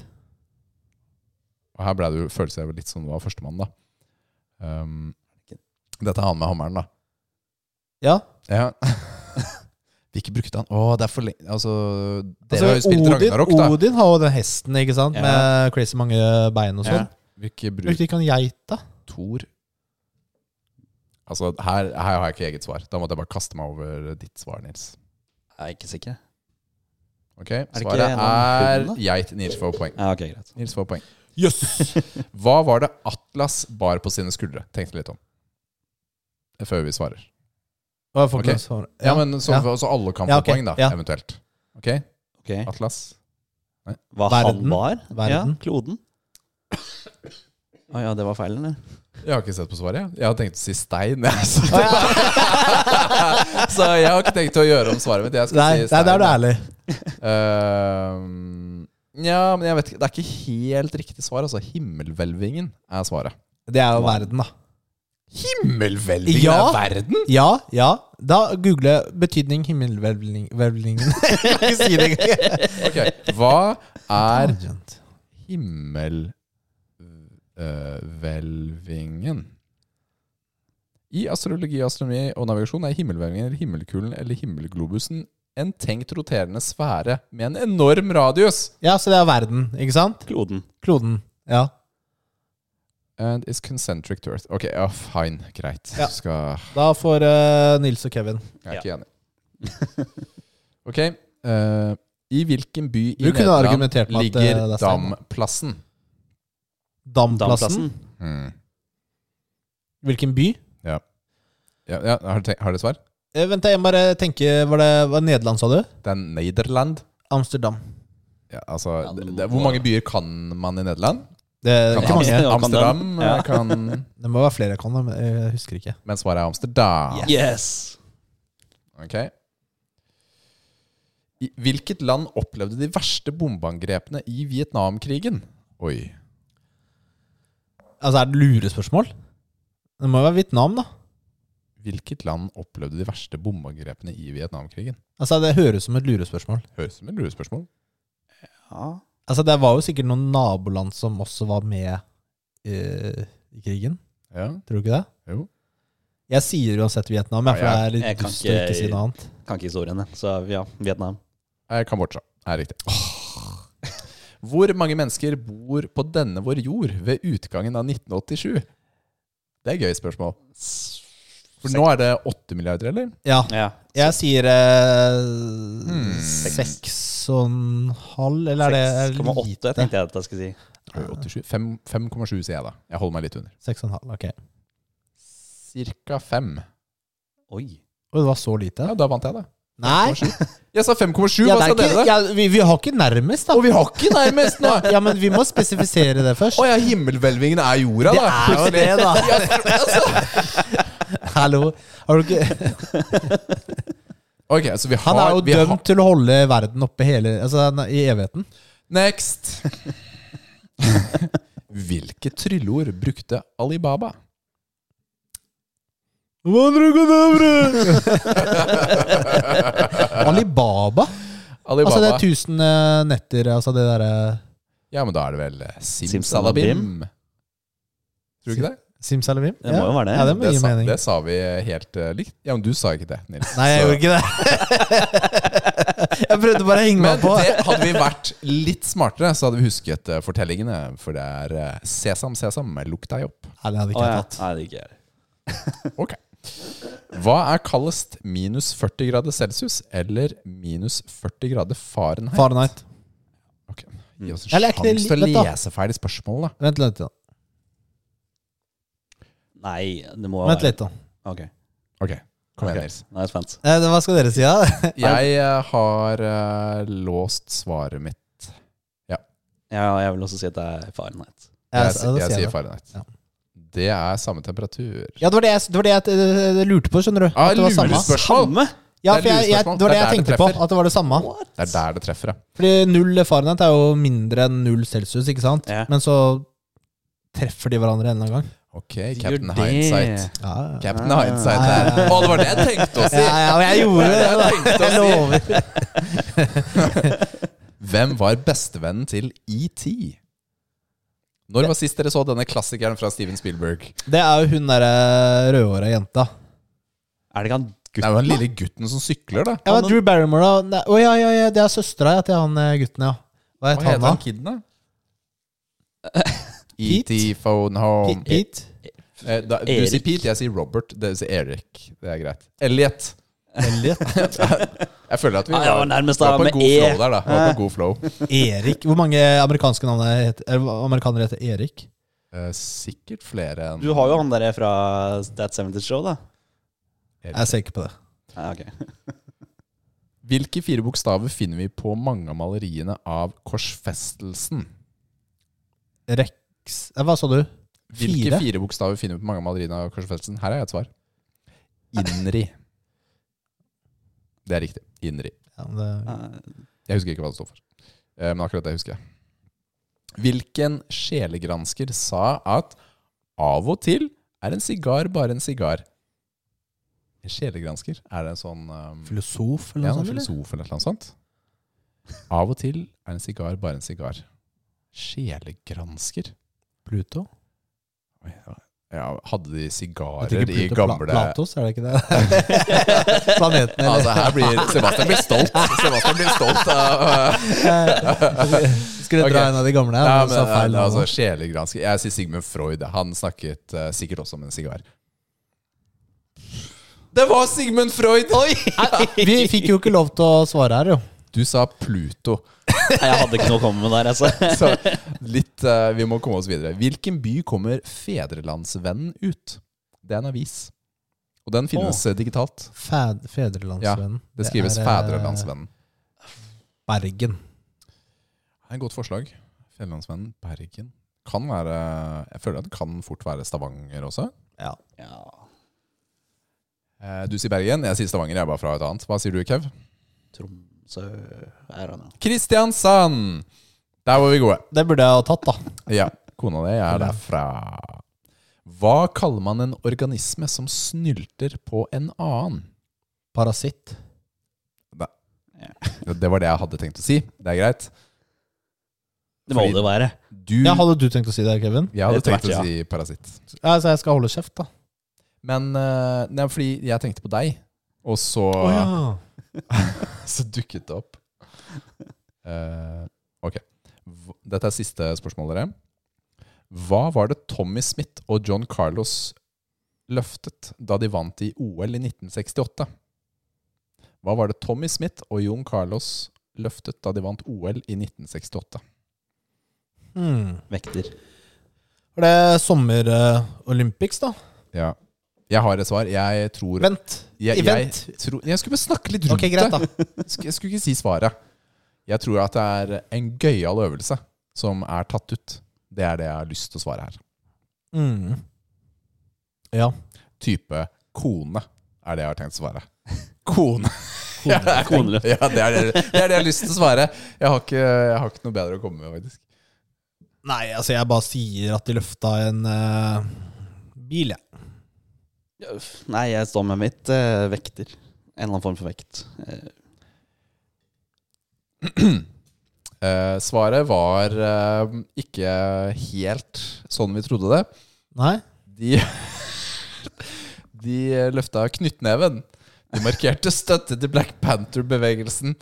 Speaker 2: Og her ble det jo, føles jeg jo litt som det var førstemann, da. Um, dette er han med hammeren, da.
Speaker 1: Ja.
Speaker 2: Ja. Hvilke brukte han? Å, det er for lenge altså, Dere har jo
Speaker 1: Altså,
Speaker 2: spilt
Speaker 1: Odin,
Speaker 2: Ragnarok, da.
Speaker 1: Odin har jo den hesten, ikke sant?
Speaker 3: Ja.
Speaker 1: Med crazy mange bein og sånn.
Speaker 2: Hvilke brukte
Speaker 1: Brukte ikke han geit, da?
Speaker 2: Thor? Altså, her, her har jeg ikke eget svar. Da måtte jeg bare kaste meg over ditt svar, Nils.
Speaker 3: Jeg er ikke sikker.
Speaker 2: Ok,
Speaker 3: det ikke
Speaker 2: Svaret
Speaker 3: en av
Speaker 2: er
Speaker 3: hundene?
Speaker 2: geit. Nils får poeng.
Speaker 3: Ja, ok, greit.
Speaker 2: Nils får poeng.
Speaker 1: Jøss!
Speaker 2: Hva var det Atlas bar på sine skuldre? Tenkte litt om. Før vi svarer. Ok.
Speaker 1: Okay.
Speaker 2: Ja, men så,
Speaker 1: ja.
Speaker 2: så alle kan få
Speaker 1: Ja, ok,
Speaker 2: poeng, da,
Speaker 1: ja.
Speaker 2: eventuelt. Ok,
Speaker 3: Ok.
Speaker 2: Atlas.
Speaker 3: Hva
Speaker 1: Verden.
Speaker 3: han var?
Speaker 1: Verden.
Speaker 3: Ja, kloden. Å ja, det var feil, eller?
Speaker 2: Jeg har ikke sett på svaret. jeg. Jeg hadde tenkt å si stein. jeg, Så, så jeg har ikke tenkt å gjøre om svaret mitt. Jeg skal
Speaker 1: Nei,
Speaker 2: si
Speaker 1: nei,
Speaker 2: stein.
Speaker 1: der er du ærlig.
Speaker 2: Ehm, ja, men jeg vet ikke. Det er ikke helt riktig svar. Altså, himmelhvelvingen er svaret.
Speaker 1: Det er jo verden, da.
Speaker 2: Himmelhvelvingen
Speaker 1: Ja.
Speaker 2: er verden?!
Speaker 1: Ja, ja. Da googler jeg betydning himmelhvelvingen. Ikke si det engang.
Speaker 2: Ok, Hva er
Speaker 1: Tangent.
Speaker 2: himmelhvelvingen? I astrologi, astronomi og navigasjon er himmelhvelvingen eller himmelkulen eller himmelglobusen en tenkt roterende sfære med en enorm radius.
Speaker 1: Ja, så det er verden, ikke sant?
Speaker 3: Kloden.
Speaker 1: Kloden. Ja.
Speaker 2: And is concentric to earth. Ok, ja, fine. Greit.
Speaker 1: Ja.
Speaker 2: Skal,
Speaker 1: Da får eh, Nils og Kevin.
Speaker 2: jeg er ikke enig. Ok. eh, I hvilken by i
Speaker 1: Du kunne
Speaker 2: Nederland
Speaker 1: argumentert med at, eh,
Speaker 2: ligger
Speaker 1: det er stein.
Speaker 2: Damplassen?
Speaker 1: Damplassen.
Speaker 2: Hmm.
Speaker 1: Hvilken by?
Speaker 2: Ja, ja, har, du tenkt, har du svar?
Speaker 1: Eh, vent, jeg må bare tenker Var det var Nederland, sa du?
Speaker 2: Det er Nederland.
Speaker 1: Amsterdam.
Speaker 2: Ja, altså,
Speaker 3: Ja, det
Speaker 2: det,
Speaker 3: må
Speaker 2: det, hvor
Speaker 3: være.
Speaker 2: mange byer kan man i Nederland?
Speaker 1: Det er
Speaker 2: Kan
Speaker 1: ikke
Speaker 2: Am-
Speaker 1: mange.
Speaker 3: Ja, kan den.
Speaker 2: Amsterdam eh,
Speaker 3: Ja.
Speaker 2: kan
Speaker 1: Det må være flere jeg kan, da, men jeg husker ikke.
Speaker 2: Men svaret er Amsterdam.
Speaker 3: Yes!
Speaker 2: Ok. I hvilket land opplevde de verste bombeangrepene i Vietnamkrigen? Oi.
Speaker 1: Altså, er det lurespørsmål? Det må jo være Vietnam, da.
Speaker 2: Hvilket land opplevde de verste bombeangrepene i Vietnamkrigen?
Speaker 1: Altså, Det høres ut som et lurespørsmål.
Speaker 2: Høres ut som et lurespørsmål.
Speaker 3: Ja.
Speaker 1: Altså, det var jo sikkert noen naboland som også var med eh, i krigen.
Speaker 2: Ja,
Speaker 1: Tror du ikke det?
Speaker 2: jo.
Speaker 1: Jeg sier uansett Vietnam, jeg, for
Speaker 2: Ja,
Speaker 1: det
Speaker 2: jeg-
Speaker 1: er litt
Speaker 3: jeg kan
Speaker 1: dust å ikke
Speaker 3: ikke-
Speaker 1: si noe annet.
Speaker 3: Kan ikke historiene. Så ja, Vietnam.
Speaker 2: Eh, Kambodsja er riktig. Hvor mange mennesker bor på denne vår jord ved utgangen av 1987? Det er et gøy spørsmål. For nå er det 8 milliarder, eller?
Speaker 1: Ja,
Speaker 3: Ja.
Speaker 1: jeg sier eh,
Speaker 2: Hmm, Seks.
Speaker 1: seks og en halv, eller er det
Speaker 3: 6,8
Speaker 1: lite?
Speaker 3: tenkte jeg at jeg skulle si.
Speaker 2: Oi, 87. Fem- 5,7 sier jeg da. Jeg holder meg litt under.
Speaker 1: Seks og en halv, ok.
Speaker 2: Cirka 5.
Speaker 3: Oi.
Speaker 1: Og det var så lite?
Speaker 2: Ja, da vant jeg, da.
Speaker 1: Nei!
Speaker 2: Jeg sa 5,7,
Speaker 1: Ja, det er
Speaker 2: hva sa
Speaker 1: ikke,
Speaker 2: dere da?
Speaker 1: ja, vi, vi har ikke nærmest, da.
Speaker 2: Og vi har ikke nærmest nå!
Speaker 1: Ja, men vi må spesifisere det først.
Speaker 2: Å ja, himmelhvelvingen er jorda,
Speaker 1: Det
Speaker 2: da! altså.
Speaker 1: er jo det, da. Hallo. Har du ikke
Speaker 2: Ok, så vi har,
Speaker 1: Han er jo
Speaker 2: vi har-
Speaker 1: dømt til å holde verden oppe hele, altså, han er- i evigheten.
Speaker 2: Next! Hvilke trylleord brukte Alibaba?
Speaker 1: Alibaba?
Speaker 2: Alibaba.
Speaker 1: Altså det er 1000 eh, netter, altså det derre
Speaker 2: Ja, men da er det vel eh, Simsalabim.
Speaker 3: Simsalabim.
Speaker 2: Tror du ikke det?
Speaker 1: Simsalabim?
Speaker 3: Det må jo være det.
Speaker 1: Ja, det må gi
Speaker 2: sa,
Speaker 1: mening.
Speaker 2: det sa vi eh, helt eh, likt. Ja, men du sa ikke det, Nils.
Speaker 1: Nei, jeg
Speaker 2: Så-
Speaker 1: gjorde ikke det. jeg prøvde bare å henge
Speaker 2: men
Speaker 1: meg på.
Speaker 2: det, hadde vi vært litt smartere, så hadde vi husket eh, fortellingene. For det er eh, sesam, sesam, lukk deg opp.
Speaker 1: Nei, det hadde
Speaker 3: Å,
Speaker 1: ikke
Speaker 3: ja.
Speaker 1: jeg tatt.
Speaker 3: Nei, det er ikke jeg.
Speaker 2: Ok. Hva er kaldest minus 40 grader celsius eller minus 40 grader Fahrenheit?
Speaker 1: Fahrenheit.
Speaker 2: Ok. Gi oss en
Speaker 1: Eller er ikke det
Speaker 2: sjanse til å
Speaker 1: litt, da?
Speaker 2: lese ferdig spørsmålet, da.
Speaker 1: Vent litt, da.
Speaker 3: Nei, det må jo
Speaker 1: Vent
Speaker 3: være
Speaker 1: litt da.
Speaker 3: Ok,
Speaker 2: Ok, kom
Speaker 3: Ok.
Speaker 2: igjen, Nils.
Speaker 3: nå er jeg spent.
Speaker 1: Eh, det- Hva skal dere si, da?
Speaker 2: Jeg eh, har eh, låst svaret mitt.
Speaker 3: Ja, jeg vil også si at det er Fahrenheit.
Speaker 2: Jeg,
Speaker 1: Ja,
Speaker 2: jeg,
Speaker 1: da sier jeg
Speaker 2: sier
Speaker 1: det.
Speaker 2: Fahrenheit.
Speaker 1: Ja.
Speaker 2: Det er samme temperatur.
Speaker 1: Ja, det var det jeg, det var det jeg eh, lurte på, skjønner du.
Speaker 2: Ah,
Speaker 1: At det var samme.
Speaker 2: lurespørsmål!
Speaker 3: Samme!
Speaker 1: Ja,
Speaker 2: Det er
Speaker 1: for jeg, jeg,
Speaker 2: lurespørsmål.
Speaker 1: det var det
Speaker 2: Det er
Speaker 1: jeg
Speaker 2: der det
Speaker 1: tenkte på.
Speaker 2: treffer.
Speaker 1: At det var det samme.
Speaker 2: Det er der det treffer, ja.
Speaker 1: Fordi null Fahrenheit er jo mindre enn null Celsius, ikke sant?
Speaker 3: Ja.
Speaker 1: Men så treffer de hverandre en eller annen gang.
Speaker 2: Ok, Captain
Speaker 3: Gjør det.
Speaker 2: Hindsight.
Speaker 1: Ja, ja.
Speaker 2: Captain
Speaker 3: Ah.
Speaker 2: Hindsight der. Å, det var det jeg tenkte å si!
Speaker 1: ja, ja, og jeg
Speaker 2: Det
Speaker 1: gjorde
Speaker 2: var
Speaker 1: det.
Speaker 2: det jeg tenkte
Speaker 1: Jeg
Speaker 2: å si.
Speaker 1: lover.
Speaker 2: Hvem var bestevennen til ET? Når var sist dere så denne klassikeren fra Steven Spielberg?
Speaker 1: Det er jo hun derre rødhåra jenta.
Speaker 3: Er det ikke han
Speaker 2: Det er jo den lille gutten som sykler, da.
Speaker 1: Ja, men
Speaker 3: Han-
Speaker 1: Drew Barrymore, da. Nei, Å ja, ja, ja, det er søstera ja, til han eh, gutten, ja. Hva
Speaker 2: Hva
Speaker 1: het han,
Speaker 2: heter
Speaker 1: da?
Speaker 2: han kiden, da? ET Phone Home.
Speaker 1: Pe- Pete?
Speaker 2: Eh, da, du
Speaker 3: Erik.
Speaker 2: sier Pete, jeg sier Robert. Det sier Erik. Det er greit. Elliot.
Speaker 1: Elliot?
Speaker 2: Jeg føler at vi
Speaker 3: Ah, jeg var nærmest
Speaker 2: vi var
Speaker 3: da,
Speaker 2: på
Speaker 3: med
Speaker 2: en god
Speaker 3: E.
Speaker 2: flow der, da. Vi Var på en god flow.
Speaker 1: Erik? Hvor mange amerikanske navn er het- eller hva- amerikanere heter Erik?
Speaker 2: Eh, sikkert flere enn
Speaker 3: Du har jo han der fra That 70's Show, da.
Speaker 1: Jeg ser ikke på det.
Speaker 3: Ja, ok.
Speaker 2: Hvilke fire bokstaver finner vi på mange av maleriene av korsfestelsen?
Speaker 1: Rex eh, Hva sa du?
Speaker 2: Hvilke
Speaker 1: Fire?
Speaker 2: fire, bokstaver finner vi på mange av maleriene av korsfestelsen? Her er et svar. Innri. Det er riktig. Innri.
Speaker 1: Ja, men det,
Speaker 3: Eh,
Speaker 2: Jeg husker ikke hva det står for. Eh, Men akkurat det husker jeg. Hvilken sjelegransker sa at av og til er en sigar bare en sigar? En sjelegransker? Er det en sånn um,
Speaker 1: filosof,
Speaker 2: ja,
Speaker 1: eller
Speaker 2: en
Speaker 1: noe sånt?
Speaker 2: filosof eller noe sånt? Av og til er en sigar bare en sigar. Sjelegransker?
Speaker 1: eller? Pluto?
Speaker 2: Oi, ja. Ja, hadde de
Speaker 1: Jeg
Speaker 2: sigarer
Speaker 1: tenker
Speaker 2: i
Speaker 1: Pluto, Pla-
Speaker 2: gamle
Speaker 1: Platos, er det ikke det? Planeten, eller?
Speaker 2: Altså, her blir Sebastian blir stolt. Sebastian blir stolt av
Speaker 1: Skulle
Speaker 2: Altså, Ok.
Speaker 1: dra en av de gamle.
Speaker 2: Ja,
Speaker 1: Ja, men,
Speaker 2: men,
Speaker 1: sa feil,
Speaker 2: eh,
Speaker 1: altså,
Speaker 2: altså, Sjelegransker Jeg sier Sigmund Freud. Han snakket eh, sikkert også om en sigar. Det var Sigmund Freud!
Speaker 1: vi fikk jo ikke lov til å svare her, jo.
Speaker 2: Du sa Pluto.
Speaker 3: Nei, jeg hadde ikke noe å komme med der, altså.
Speaker 2: Så litt eh, Vi må komme oss videre. Hvilken by kommer Fedrelandsvennen ut? Det er en avis. Og den finnes eh, digitalt.
Speaker 1: Fed, fedrelandsvennen.
Speaker 2: Det skrives
Speaker 1: er, eh,
Speaker 2: Fedrelandsvennen.
Speaker 1: Bergen.
Speaker 2: Det er et godt forslag. Fedrelandsvennen, Bergen. Kan være Jeg føler at det kan fort være Stavanger også.
Speaker 1: Ja.
Speaker 3: Ja.
Speaker 2: Eh, Du sier Bergen, jeg sier Stavanger. Jeg er bare fra et annet. Hva sier du, Kev?
Speaker 3: Tromsø er han, ja.
Speaker 2: Kristiansand! Der var vi gode.
Speaker 1: Det burde jeg ha tatt, da.
Speaker 2: Ja, kona di er derfra. Hva kaller man en organisme som snylter på en annen?
Speaker 1: Parasitt.
Speaker 2: Det var det jeg hadde tenkt å si. Det er greit.
Speaker 3: Det må det være.
Speaker 2: Du,
Speaker 1: Ja, hadde du tenkt å si det, Kevin?
Speaker 2: jeg hadde
Speaker 3: Etter
Speaker 2: tenkt
Speaker 3: hvert,
Speaker 2: å si parasitt.
Speaker 1: Ja, så jeg skal holde kjeft, da.
Speaker 2: Men eh, nei, fordi jeg tenkte på deg, og så, så dukket det opp. Eh, ok. Hv- Dette er siste spørsmål, dere. Hva var det Tommy Smith og John Carlos løftet da de vant i OL i 1968? Hva var det Tommy Smith og John Carlos løftet da de vant OL i 1968?
Speaker 1: Hmm.
Speaker 3: Vekter.
Speaker 1: Var det sommer-Olympics, da?
Speaker 2: Ja. Jeg har et svar. Jeg tror
Speaker 1: Vent.
Speaker 2: Jeg, jeg,
Speaker 1: Vent.
Speaker 2: tror, jeg skulle bare snakke litt rundt
Speaker 1: Ok, greit, da.
Speaker 2: det. Sk- Jeg skulle ikke si svaret. Jeg tror at det er en gøyal øvelse som er tatt ut. Det er det jeg har lyst til å svare her.
Speaker 1: Mm. Ja.
Speaker 2: Type kone er det jeg har tenkt å svare. Kone.
Speaker 3: Koneløft.
Speaker 2: Ja, det er det, det er det jeg har lyst til å svare. Jeg har ikke, jeg har ikke noe bedre å komme med, faktisk.
Speaker 1: Nei, altså, jeg bare sier at de løfta en eh, bil, jeg.
Speaker 3: Ja, uff. Nei, jeg står med mitt eh, vekter. En eller annen form for vekt. Eh,
Speaker 2: Eh, svaret var eh, ikke helt sånn vi trodde det.
Speaker 1: Nei?
Speaker 2: De, de løfta knyttneven. De markerte støtte til Black Panther-bevegelsen.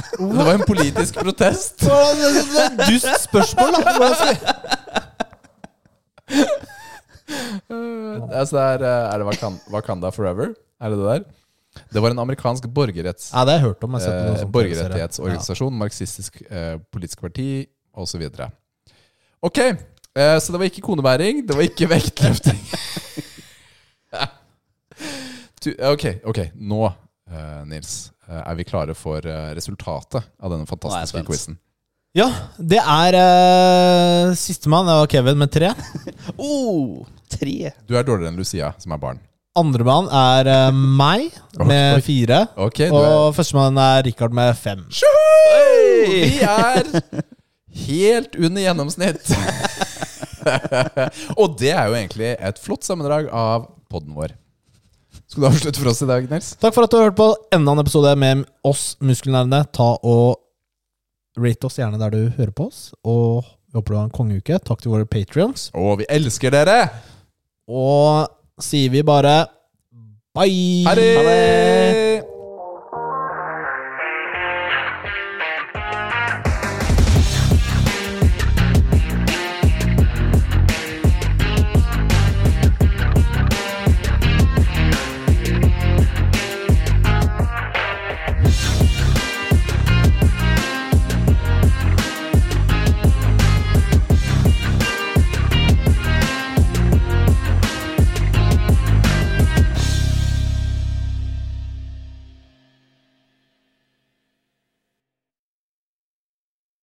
Speaker 2: Det var en politisk protest.
Speaker 1: Det er et dust spørsmål, da! Hvordan skal-
Speaker 2: Eh, Altså det er, eh, er det Wakan- Wakanda Forever? Er det det der? Det var en amerikansk borgerretts,
Speaker 1: Nei, det har jeg hørt om. Jeg har sett på noen
Speaker 2: eh,
Speaker 1: sånne TV-serier.
Speaker 2: borgerrettighetsorganisasjon, marxistisk eh, politisk parti osv. Ok, eh, så det var ikke konebæring, det var ikke vektløfting. Tu- ok, ok, nå, eh, Nils, eh, er vi klare for eh, resultatet av denne fantastiske
Speaker 3: spent.
Speaker 2: quizen.
Speaker 1: Ja. ja, det er eh, sistemann. Det var Kevin med tre.
Speaker 3: oh, tre!
Speaker 2: Du er dårligere enn Lucia, som er barn.
Speaker 1: Andremann er eh, meg med
Speaker 2: Oi.
Speaker 1: fire.
Speaker 2: Ok, du er...
Speaker 1: Og førstemann er Richard med fem.
Speaker 2: Vi er helt under gjennomsnitt. Og det er jo egentlig et flott sammendrag av podden vår. Skal du avslutte for oss i dag, Nils?
Speaker 1: Takk for at du har hørt på enda en episode med oss muskelnerdene. Ta og rate oss gjerne der du hører på oss. Og vi håper du har en kongeuke. Takk til våre patrions.
Speaker 2: Å, vi elsker dere!
Speaker 1: Og sier vi bare bye!
Speaker 2: Ha det!